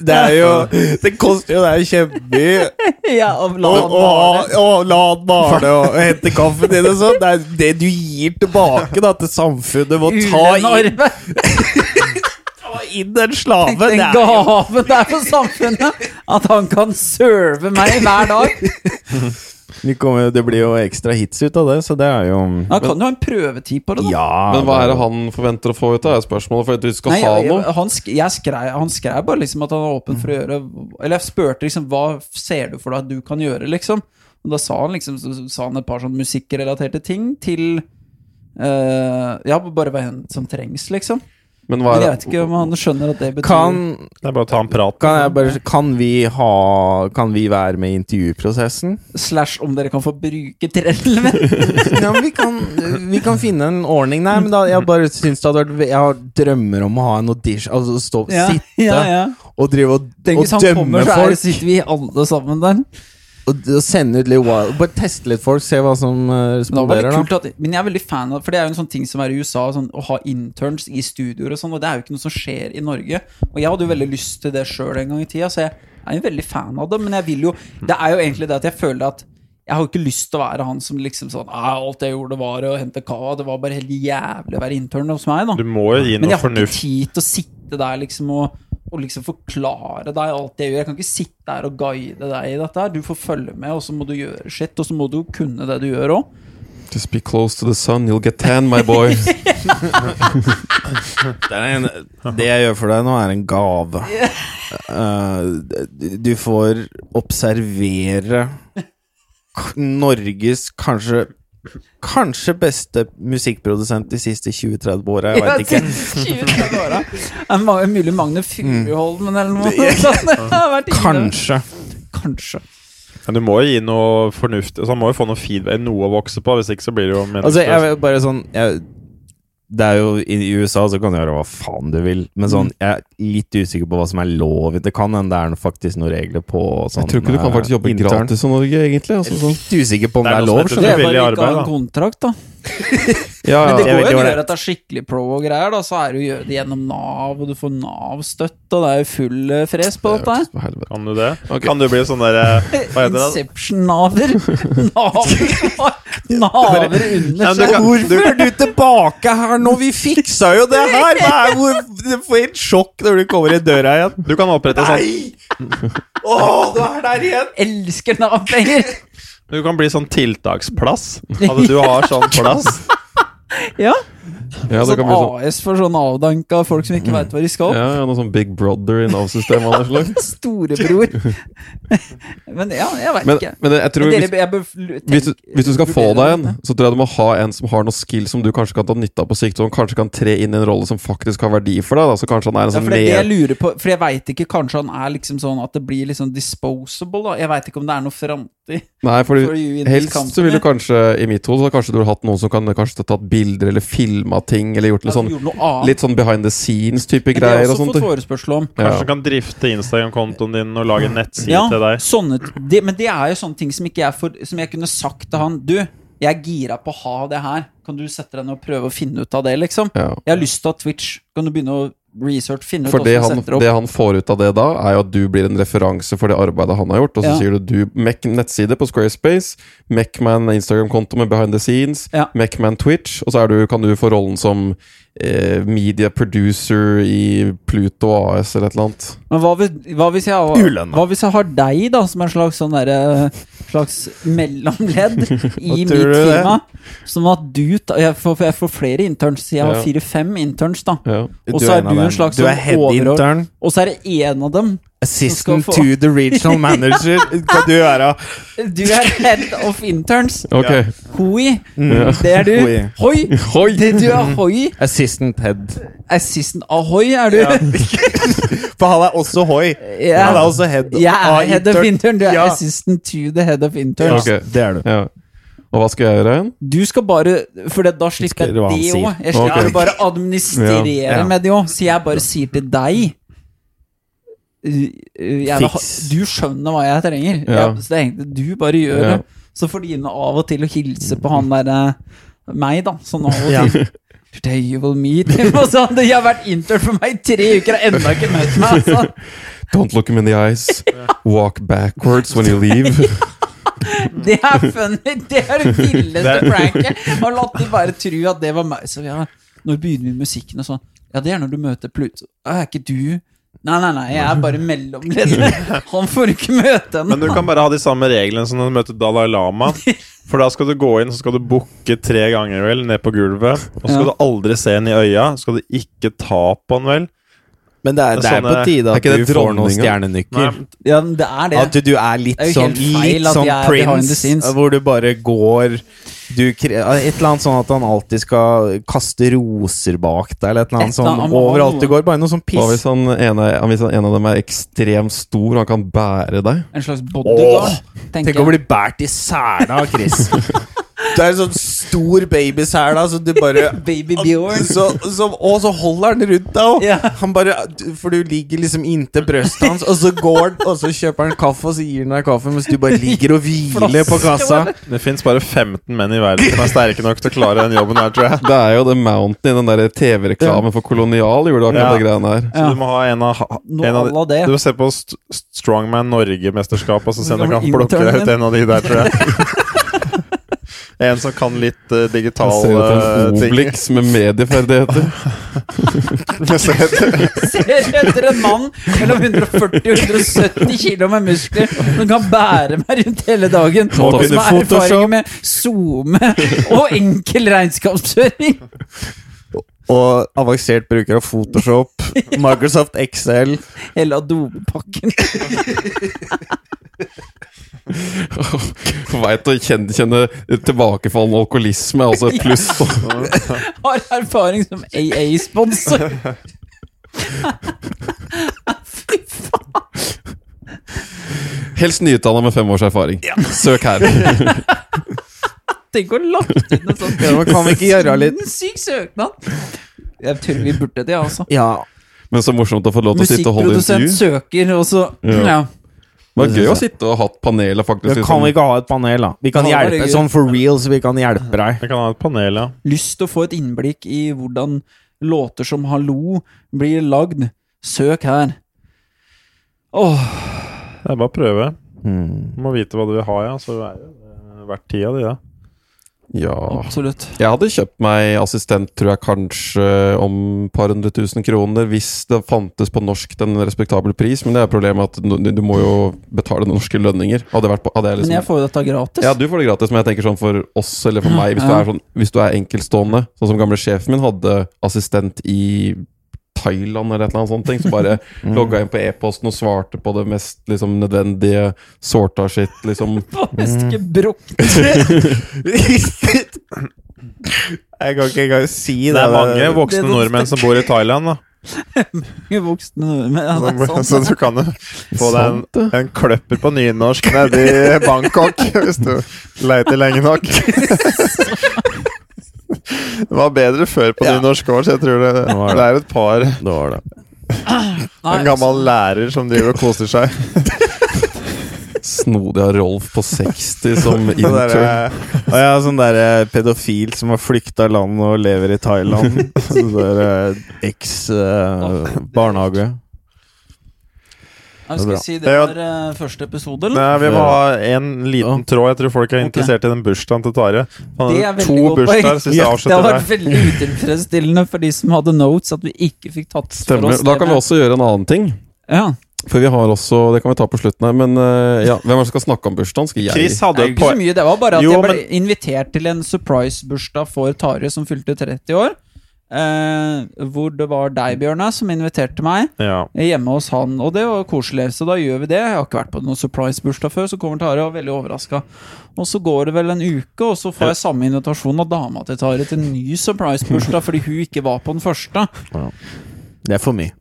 Det er jo Det koster jo deg kjempemye
Ja, og la
å
han male.
å- å la han male og hente kaffen din og sånn. Det er det du gir tilbake da til samfunnet ved å ta inn,
Ulenorve!
ta inn en slave.
Den
Det er jo
gaven det er for samfunnet! At han kan serve meg hver dag!
Vi kommer, det blir jo ekstra hits ut av det, så det er jo
Han kan jo ha en prøvetid på det, da.
Ja.
Men hva er det han forventer å få ut av? er spørsmålet. For at du skal
Nei,
ha
jeg,
noe.
jeg- han, sk jeg skrev, han skrev bare liksom at han var åpen for å gjøre Eller jeg spurte liksom hva ser du for deg at du kan gjøre, liksom. Og da sa han liksom så, så sa han et par sånn musikkrelaterte ting til eh, Ja, bare hva hen som trengs, liksom.
Men hva
Men jeg
er det?
vet ikke om han skjønner at det betyr
Kan,
Det er bare å ta en prat.
kan jeg bare Kan vi ha Kan vi være med i intervjuprosessen?
Slash om dere kan få bruke trellene.
Ja, men vi kan, vi kan finne en ordning Nei, men da, jeg bare syns det hadde vært ve- Jeg har drømmer om å ha en audition Altså stå,
Ja,
sitte
ja, ja.
og drive og,
Tenk
og
hvis han
dømme
kommer, så er,
folk
sitter vi alle sammen der.
Og, og sende ut litt wild Bare teste litt folk, se hva som
Men, det var
eh, responderer,
veldig
da.
kult at, men jeg er veldig fan av For det er jo en sånn ting som er i USA, sånn, å ha interns i studioer og sånn, og det er jo ikke noe som skjer i Norge. Og jeg hadde jo veldig lyst til det sjøl en gang i tida, så jeg er jo veldig fan av det. Men jeg vil jo Det er jo egentlig det at jeg føler at jeg har jo ikke lyst til å være han som liksom sånn «Ah, Alt jeg gjorde, var å hente kava. Det var bare helt jævlig å være intern hos meg, da.
Du må jo gi
Men
noe
jeg har ikke
fornuft.
tid til å sitte der liksom og, og liksom forklare deg alt det jeg gjør. Jeg kan ikke sitte der og guide deg i dette. her Du får følge med, og så må du gjøre shit. Og så må du kunne det du gjør òg.
Just be close to the sun, you'll get tan, my boy.
Det, er en, det jeg gjør for deg nå, er en gave. Eh, du får observere k- Norges kanskje Kanskje beste musikkprodusent de siste 20-30 åra. Jeg veit ikke.
ikke. Mulig Magne Furuholmen eller noe sånt. Jeg har vært inne.
Kanskje.
Kanskje.
Men du må jo gi noe fornuft. Altså, han må jo få noe feedback, noe å vokse på. Hvis ikke så blir det jo meningsløst.
Altså, jeg vil bare sånn jeg, Det er jo I i USA så kan du gjøre hva faen du vil, men sånn
Mm.
Jeg er litt usikker på hva som er lov. Det kan hende det er faktisk noen regler på sånn
Jeg tror ikke du kan faktisk jobbe
eh, intern.
gratis i Norge, egentlig. Altså, sånn.
Litt usikker på om
Det
det
er
er,
noe som
lov.
heter
Det
skjønner du.
er
Frivillig
bare ikke å
arbeid,
ha en
da.
kontrakt, da.
Ja,
Men det
ja.
Jeg
går
vet
jo
ikke
å
hva det-
gjøre dette skikkelig pro og greier, da. Så er det jo å gjøre det gjennom Nav, og du får Nav-støtt, og det er jo full eh, fres på dette her.
For helvete.
Kan du det?
Ok.
Kan du bli sånn der eh, Hva heter det?
Inception-naver. Naver Naver under
Nei,
seg.
kan-
Hvorfor er du tilbake her nå? Vi fiksa jo det her! Hva er, hvor, du får helt sjokk når du kommer i døra igjen.
Du kan opprette sånn
Å, du er der igjen!
Elsker Nav-penger!
Du kan bli sånn tiltaksplass. Hadde du har sånn plass
Ja.
ja, det
sånn
kan bli sånn.
AS for sånn avdanka folk som ikke veit hva de skal.
Ja, ja, noe sånn Big Brother i Nav-systemet av noe slag.
Storebror. Men ja, jeg veit
Men,
ikke.
men jeg tror
Men
hvis,
dere, jeg bør tenke-
hvis, du, hvis du skal få
vurdere
deg en,
dette.
så tror jeg du må ha en som har noe skill som du kanskje kan ta nytte av på sikt. Og som kanskje kan tre inn i en rolle som faktisk har verdi for deg. Da. Så kanskje han er en
Ja,
sånn
for det er det jeg
mer
lurer på For jeg veit ikke, kanskje han er liksom sånn at det blir liksom disposable, da. Jeg veit ikke om det er noe framtid
Nei, fordi
for you in this
helst så vil du
company.
kanskje, i mitt hode, så kanskje du har hatt noen som kan kanskje tatt bilder eller filma ting, eller gjort litt
Altså,
sånn,
gjorde noe annet.
litt sånn behind the scenes-type
Men det har
greier
jeg
og
også
sånt.
fått forespørsel om.
Ja.
Kanskje du kan drifte Instagram-kontoen din og lage en nettside
Ja,
til deg.
sånne, det, men det er jo sånne ting som, ikke jeg får, som jeg kunne sagt til han Du, jeg er gira på å ha det her. Kan du sette deg ned og prøve å finne ut av det, liksom?
Ja.
Jeg har lyst til å ha Twitch. Kan du begynne å researche, finne ut
For det
hvordan du
han,
setter opp?
det han får ut av det da, er jo at du blir en referanse for det arbeidet han har gjort. Og så
Ja.
sier du du mekk en nettside på Squarespace, mekk meg en Instagram-konto med behind the scenes,
Ja.
mekk meg en Twitch, og så er du, kan du få rollen som eh, media producer i Pluto AS eller et eller annet.
Men hva hvis, hva, hvis jeg har,
Ulønna.
hva hvis jeg har deg, da, som en slags sånn derre Slags mellomledd i
Hva
mitt
tror du det?
firma? Sånn at du ta- jeg får, jeg får flere interns. Jeg har
Ja.
fire-fem interns, da.
Ja.
Og så er du en slags
Du er
sånn
head
overord-
intern.
Og så er det én av dem
Assistant
få-
to the regional manager kan du være.
Du er head of interns.
Ok.
Hoi.
Mm.
Det er du.
Hoi.
Hoi.
Hoi!
Det du er hoi.
Assistant head.
Assistant ahoy er du.
For han er også hoi.
Ja.
Han er også head
Jeg er head of
intern.
intern. Du er
Ja.
assistant to the head of intern.
Ja,
Ok.
Det er du.
Ja. Og hva skal jeg gjøre igjen?
Du skal bare For det, da slipper jeg
Skal- hva han
det
sier.
òg. Jeg slipper
Ok.
bare å administrere
Ja, ja.
med det òg. Så jeg bare sier til deg uh, uh, jeg,
Fiks.
Du skjønner hva jeg trenger.
Ja.
Jeg, så det er egentlig du bare gjør
Ja.
det. Så får du inn av og til å hilse på han derre meg, da. Sånn av og
Ja.
til. Today you will meet him, og sånn. Jeg har vært intern for meg i tre uker og ennå ikke møtt meg. Altså.
Don't look him in the eyes. Walk backwards when you leave.
Det er funny! Det er det villeste
Det er-
pranket! Og latt de bare tro at det var meg. Så ja, når begynner vi musikken og sånn? Ja, det er når du møter Pluto. «Å, Er ikke du Nei, nei, nei, jeg er bare mellomleder. Han får ikke møte henne.
Men du kan bare ha de samme reglene som når du møter Dalai Lama. For da skal du gå inn, så skal du bukke tre ganger vel ned på gulvet. Og så skal
Ja.
du aldri se henne i øya. Så skal du ikke ta på henne vel.
Men det er,
Det
det
er
er på
sånne-
tide
Er ikke
at
det
du får noen
dronninga?
stjernenykker.
Nei,
Ja, men det er det.
At du, du er litt
Det er jo
sånn
helt feil
Litt
at
sånn
jeg er behind the
Prince,
scenes.
hvor du bare går du, kre- Et eller annet sånn at han alltid skal kaste roser bak deg, eller et eller annet
Et eller
sånn
annet, han må ha
overalt du
noe.
går. Bare noe sånn
Hva hvis
piss.
han ene, hvis han ene av dem er ekstremt stor, han kan bære deg?
En slags bodyguard,
Tenk
tenker
å
jeg.
bli båret i sæla av Chris. Det er en sånn s- stor babysæl, da, så du bare
Baby Bjørn.
så, så, og så holder han rundt deg, og
Ja.
han bare For du ligger liksom inntil brøstet hans, og så går han, og så kjøper han kaffe, og så gir han deg kaffe mens du bare ligger og hviler på kassa.
Det fins bare 15 menn i verden som er sterke nok til å klare den jobben her, tror jeg.
Det er jo The Mountain i den der TV-reklamen for Kolonial gjorde akkurat
Ja.
det greiene her.
Så du må ha en av,
Noe
en av
à la det.
Du må se på St Strongman Norge-mesterskapet, og så se om du
Gammel
kan plukke
intern,
ut en av de der, tror jeg. En som kan litt uh,
Jeg
digital
ser ut
eh,
som en
ting.
Obelix med medieferdigheter.
Ser etter en mann mellom 140 og 170 kilo med muskler som kan bære meg rundt hele dagen.
Må
Og som
kunne
har
Photoshop.
erfaring med SoMe og enkel regnskapsføring.
Og avansert bruker av Photoshop, Microsoft Excel
Hele adobepakken.
Veit å kjenne, kjenne tilbakefallende alkoholisme, altså et pluss.
Har erfaring som AA-sponsor. Fy faen.
Helst nyutdanna med fem års erfaring. Søk her.
Tenk å lagt inn en sånn
Ja, men kan vi ikke gjøre litt
sinnssyk søknad. Jeg tror vi burde det, altså.
Ja.
Men så morsomt å få lov til å sitte og holde
Musikkprodusent
intervju.
søker, og så
Ja.
ja.
Det var gøy å sitte og hatt panelet, faktisk.
Da
litt
kan
sånn-
vi ikke ha et panel, da. Vi kan
Ja, det er
hjelpe
gøy.
sånn for real, så vi kan hjelpe deg.
Jeg kan ha et panel, ja.
lyst til å få et innblikk i hvordan låter som Hallo blir lagd, søk her. Åh,
Det er bare å prøve.
Hmm.
Du må vite hva du vil ha, ja. Så er det eh, verdt tida di, da.
Ja.
absolutt.
Jeg hadde kjøpt meg assistent, tror jeg, kanskje om et par hundre tusen kroner, hvis det fantes på norsk til en respektabel pris, men det er problemet at du, du må jo betale norske lønninger. Hadde, jeg vært på, hadde jeg
Men
liksom
jeg får jo dette gratis.
Ja, du får det gratis, men jeg tenker sånn for oss eller for meg, hvis du
Ja.
er, sånn, hvis du er enkeltstående, sånn som gamle sjefen min hadde assistent i Thailand eller et eller annet sånt ting, så bare
Mm.
logga inn på e-posten og svarte på det mest liksom, nødvendige, sorta shit, liksom.
Faen, hvis ikke brukk
Jeg kan ikke engang si det.
Det er mange
det
voksne
er noe
nordmenn som bor i Thailand, da.
voksne men ja, det er
Så,
sant.
så du kan jo få deg en,
Sant, det.
en kløpper på nynorsk nede i Bangkok hvis du leiter lenge nok. Det var bedre før på nynorsk òg, så jeg tror det,
Det var det.
det er et par
Det var det.
Nei, altså-
En gammel lærer som driver og koser seg.
Snodig av Rolf på 60 som
Sånn der,
intern.
og jeg er sånn der eh, pedofil som har flykta landet og lever i Thailand. Sånn der eks-barnehage.
Jeg skal si det
Ja.
var eh, første episode, eller?
Nei, vi må ha en liten tråd. Jeg tror folk er interessert i den bursdagen til Tarjei. Han
Det er
hadde
veldig
to
godt poeng.
bursdager, så hvis jeg
Det har
avslutter
vært
der.
veldig utilfredsstillende for de som hadde notes, at vi ikke fikk tatt for
Stemmer.
oss
Da kan vi
det.
også gjøre en annen ting.
ja.
For vi har også, Det kan vi ta på slutten her, men eh, ja, hvem er det som skal snakke om bursdagen? Skal jeg?
Chris hadde
Det er
et
ikke så
poeng.
mye, det var bare at
Jo,
jeg ble invitert til en surprise-bursdag for Tare som fylte 30 år. Eh, hvor det var deg, Bjørnar, som inviterte meg
Ja.
hjemme hos han. Og det var koselig, så da gjør vi det. Jeg har ikke vært på noen surprise-bursdag før, så kommer Tare og er veldig overraska. Og så går det vel en uke, og så får jeg samme invitasjon av dama til Tare til en ny surprise-bursdag fordi hun ikke var på den første.
Det er for mye.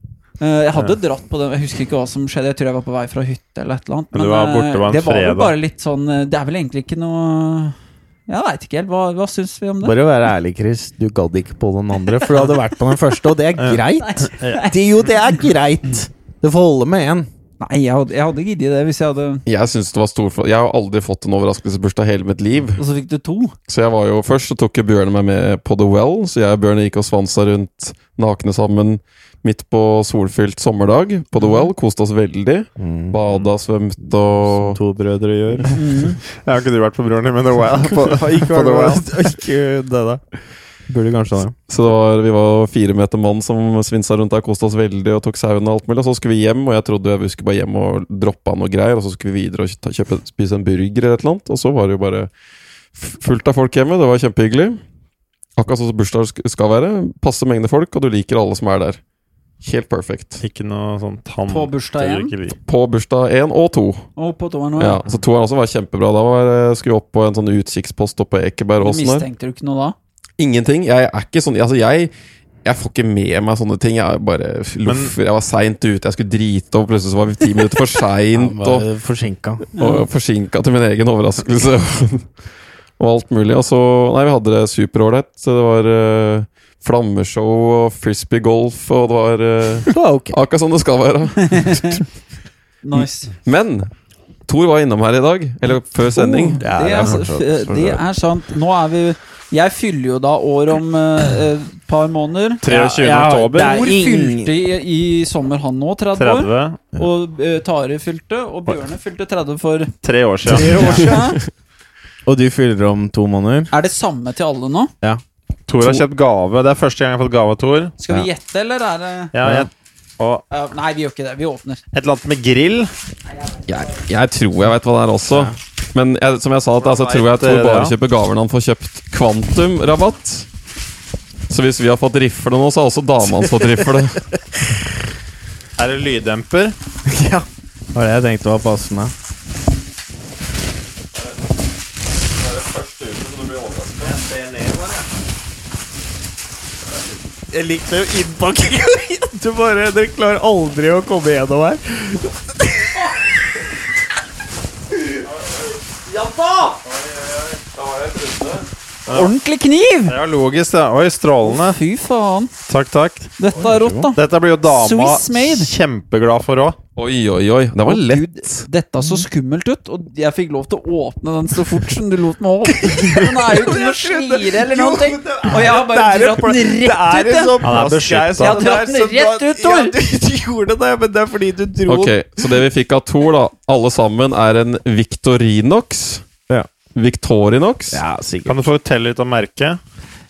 Eh, Jeg hadde dratt på den, jeg husker ikke hva som skjedde. Jeg tror jeg var på vei fra hytte eller et eller annet.
Men du var
eh,
borte, det var en
det var
fredag.
vel bare litt sånn eh, Det er vel egentlig ikke noe Jeg veit ikke helt. Hva, hva syns vi om det?
Bare å være ærlig, Chris. Du gadd ikke på den andre, for du hadde vært på den første, og det er greit. Det, jo, det er greit. Det får holde med én.
Nei, jeg hadde, jeg hadde giddet det hvis jeg hadde
Jeg synes det var stor for- Jeg har aldri fått en overraskelsesbursdag hele mitt liv.
Og så fikk du to.
Så jeg var jo først, så tok jo Bjørn meg med på The Well. Så jeg og Bjørn gikk og svansa rundt nakne sammen midt på solfylt sommerdag på The Well. Koste oss veldig. Bada, svømte og
Mm. To brødre gjør.
Jeg har ikke du vært på broren din, men det var jeg. På,
Ikke
på det var jeg.
det, da. Burde kanskje det.
Så det var, vi var fire meter mann som svinsa rundt der, koste oss veldig og tok sauen og alt mulig. Og så skulle vi hjem, og jeg trodde vi skulle bare hjem og droppe av noe greier. Og så skulle vi videre og ta- kjøpe, spise en burger eller et eller annet. Og så var det jo bare f- fullt av folk hjemme. Det var kjempehyggelig. Akkurat sånn som bursdag sk- skal være. Passe mengde folk, og du liker alle som er der. Helt perfekt.
Ikke noe sånn tann
På bursdag igjen?
På bursdag én og to.
Og på toeren òg.
Ja, så toeren også var kjempebra. Da var, jeg- skulle jeg opp på en sånn utkikkspost oppe på Ekeberg.
Du
og sånn der.
mistenkte jo ikke noe da?
Ingenting. Jeg er ikke sånn Altså, jeg jeg får ikke med meg sånne ting. Jeg er bare loffer. Jeg var seint ute, jeg skulle drite, og plutselig så var vi ti minutter for seint. Og,
Forsinka.
og forsinka til min egen overraskelse. og alt mulig. Og så Nei, vi hadde det superålreit. Så det var eh, flammeshow og frisbeegolf, og det var eh,
Det var ok.
akkurat som det skal være. Mm.
Nice.
Men Thor var innom her i dag, eller før sending.
Det er,
Oh, fortsatt-
s-
fortsatt.
det er sant. Nå er vi Jeg fyller jo da år om et par måneder.
23.
Ja, ja,
oktober.
det er
Hvor
ingen-
fylte i, i sommer han nå? 30,
30.
år? Og eh, Tare fylte, og Bjørne fylte 30 for
Tre år siden.
tre år siden.
Og du fyller om to måneder?
Er det samme til alle nå?
Tor har kjøpt gave. Det er første gang jeg har fått gave av Tor.
Skal vi gjette, eller er det
Ja, jeg, og
Ja, Nei, vi gjør ikke det. Vi åpner.
et eller annet med grill.
Jeg, jeg tror jeg veit hva det er også. Men jeg, som jeg sa, at, altså, jeg tror jeg at
Hvordan
Tor
eh,
vet
bare
dere det?
kjøper gaver når han får kjøpt kvantumrabatt. Så hvis vi har fått rifle nå, så har også dama hans fått rifle.
Er det lyddemper?
Ja. Det var det jeg tenkte var passende. Jeg liker jo innpakninga. Du bare Dere klarer aldri å komme gjennom her.
Ordentlig kniv!
Ja, logisk. det. Oi, strålende.
Fy faen.
Takk, takk.
Dette er rått, da.
Dette blir jo dama
Swiss made.
kjempeglad for òg.
Oi, oi, oi. Det var lett.
Gud, dette
Mm.
så skummelt ut, og jeg fikk lov til å åpne den så fort som du lot meg åpne. Den er jo ikke noe slire eller noen ting. Og jeg har bare
Det er en
dratt den
pla-
rett ut,
Det er en
jeg.
sånn
Han er
plastgreie
beskyttet.
som
Jeg har
det er,
dratt den
som da-
rett ut, Tor.
Ja, du, du gjorde det, men det er fordi du dro
Ok, så det vi fikk av Thor, da, alle sammen, er en Victorinox.
Ja.
Victorinox.
Ja, sikkert.
Kan du fortelle litt om merket?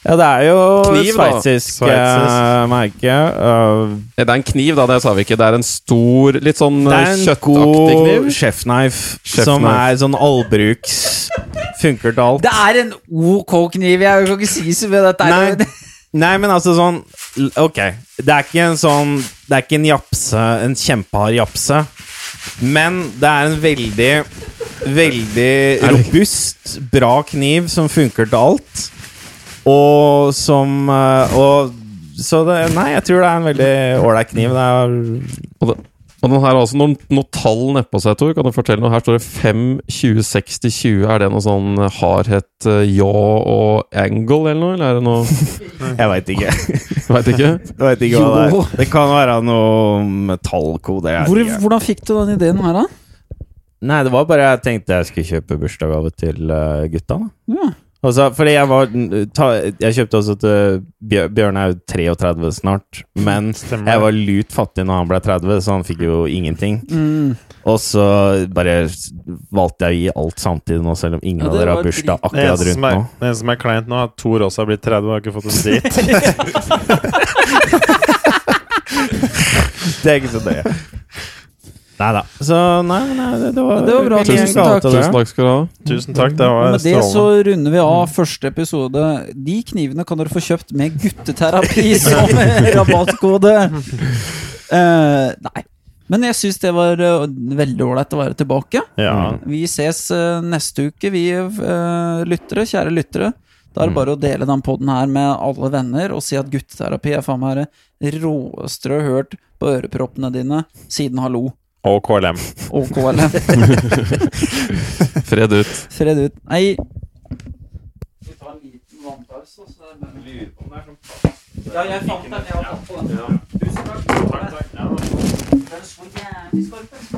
Ja, det er jo
Kniv, da.
sveitsisk
Sveitsisk.
eh, merke. eh,
Eh, Det er en kniv, da. Det sa vi ikke. Det er en stor, litt sånn
Det
eh,
er en
kjøttaktig
god
kniv.
chefknife
Chef
som
knife.
er sånn allbruks. Funker til alt.
Det er en OK kniv. Jeg kan ikke si så mye. Dette er
Nei, nei, men altså sånn l- Ok, det er ikke en sånn Det er ikke en japse, en kjempehard japse. Men det er en veldig, veldig robust, bra kniv som funker til alt. Og som eh, Og så det Nei, jeg tror det er en veldig ålreit kniv. Det er
Og, det, og den her altså, har også noen, noen tall nedpå seg, Tor. Kan du fortelle noe? Her står det 5, 20, 60, 20. Er det noe sånn hardhet, eh, ja og angle eller noe? Eller er det noe
Jeg veit ikke.
Jeg veit ikke.
Jeg vet ikke hva det
Jo.
er. Det kan være noe metallkode. Jeg vet
Hvor,
ikke.
hvordan fikk du den ideen her, da?
Nei, det var bare jeg tenkte jeg skulle kjøpe bursdagsgave til eh, gutta. da.
Ja.
Altså, fordi jeg var ta, Jeg kjøpte også til Bjør- Bjørn er jo 33 snart, men
Stemmer.
jeg var lut fattig når han ble 30, så han fikk jo ingenting.
Mm.
Og så bare s- valgte jeg å gi alt samtidig nå, selv om
Ja,
ingen av
det
dere har
var
bursdag
Det
drit.
akkurat
eneste,
rundt
som er,
nå.
det eneste som er kleint nå, er at Thor også har blitt 30 og har ikke fått en dritt.
Det er ikke så nøye. Nei da. Så nei, nei det, det, var,
Det var bra.
vil gi en
Tusen
gave
takk.
til dere.
Tusen takk skal du ha.
Tusen takk, det
Og
var
med det så
strålende.
runder vi av første episode. De knivene kan dere få kjøpt med gutteterapi som rabattkode. Eh, nei. Men jeg syns det var eh, veldig ålreit å være tilbake.
Ja.
Vi ses eh, neste uke, vi eh, lyttere, kjære lyttere. Da er det bare å dele den podden her med alle venner og si at gutteterapi er faen meg det råeste du har hørt på øreproppene dine siden hallo
Og KLM.
og KLM.
Fred ut.
Fred ut. Nei Vi tar en liten vannpause, og så er sånn det Ja, jeg fant den. Jeg har tatt på den. Tusen takk. Takk, takk. Den slo jævlig skarpt.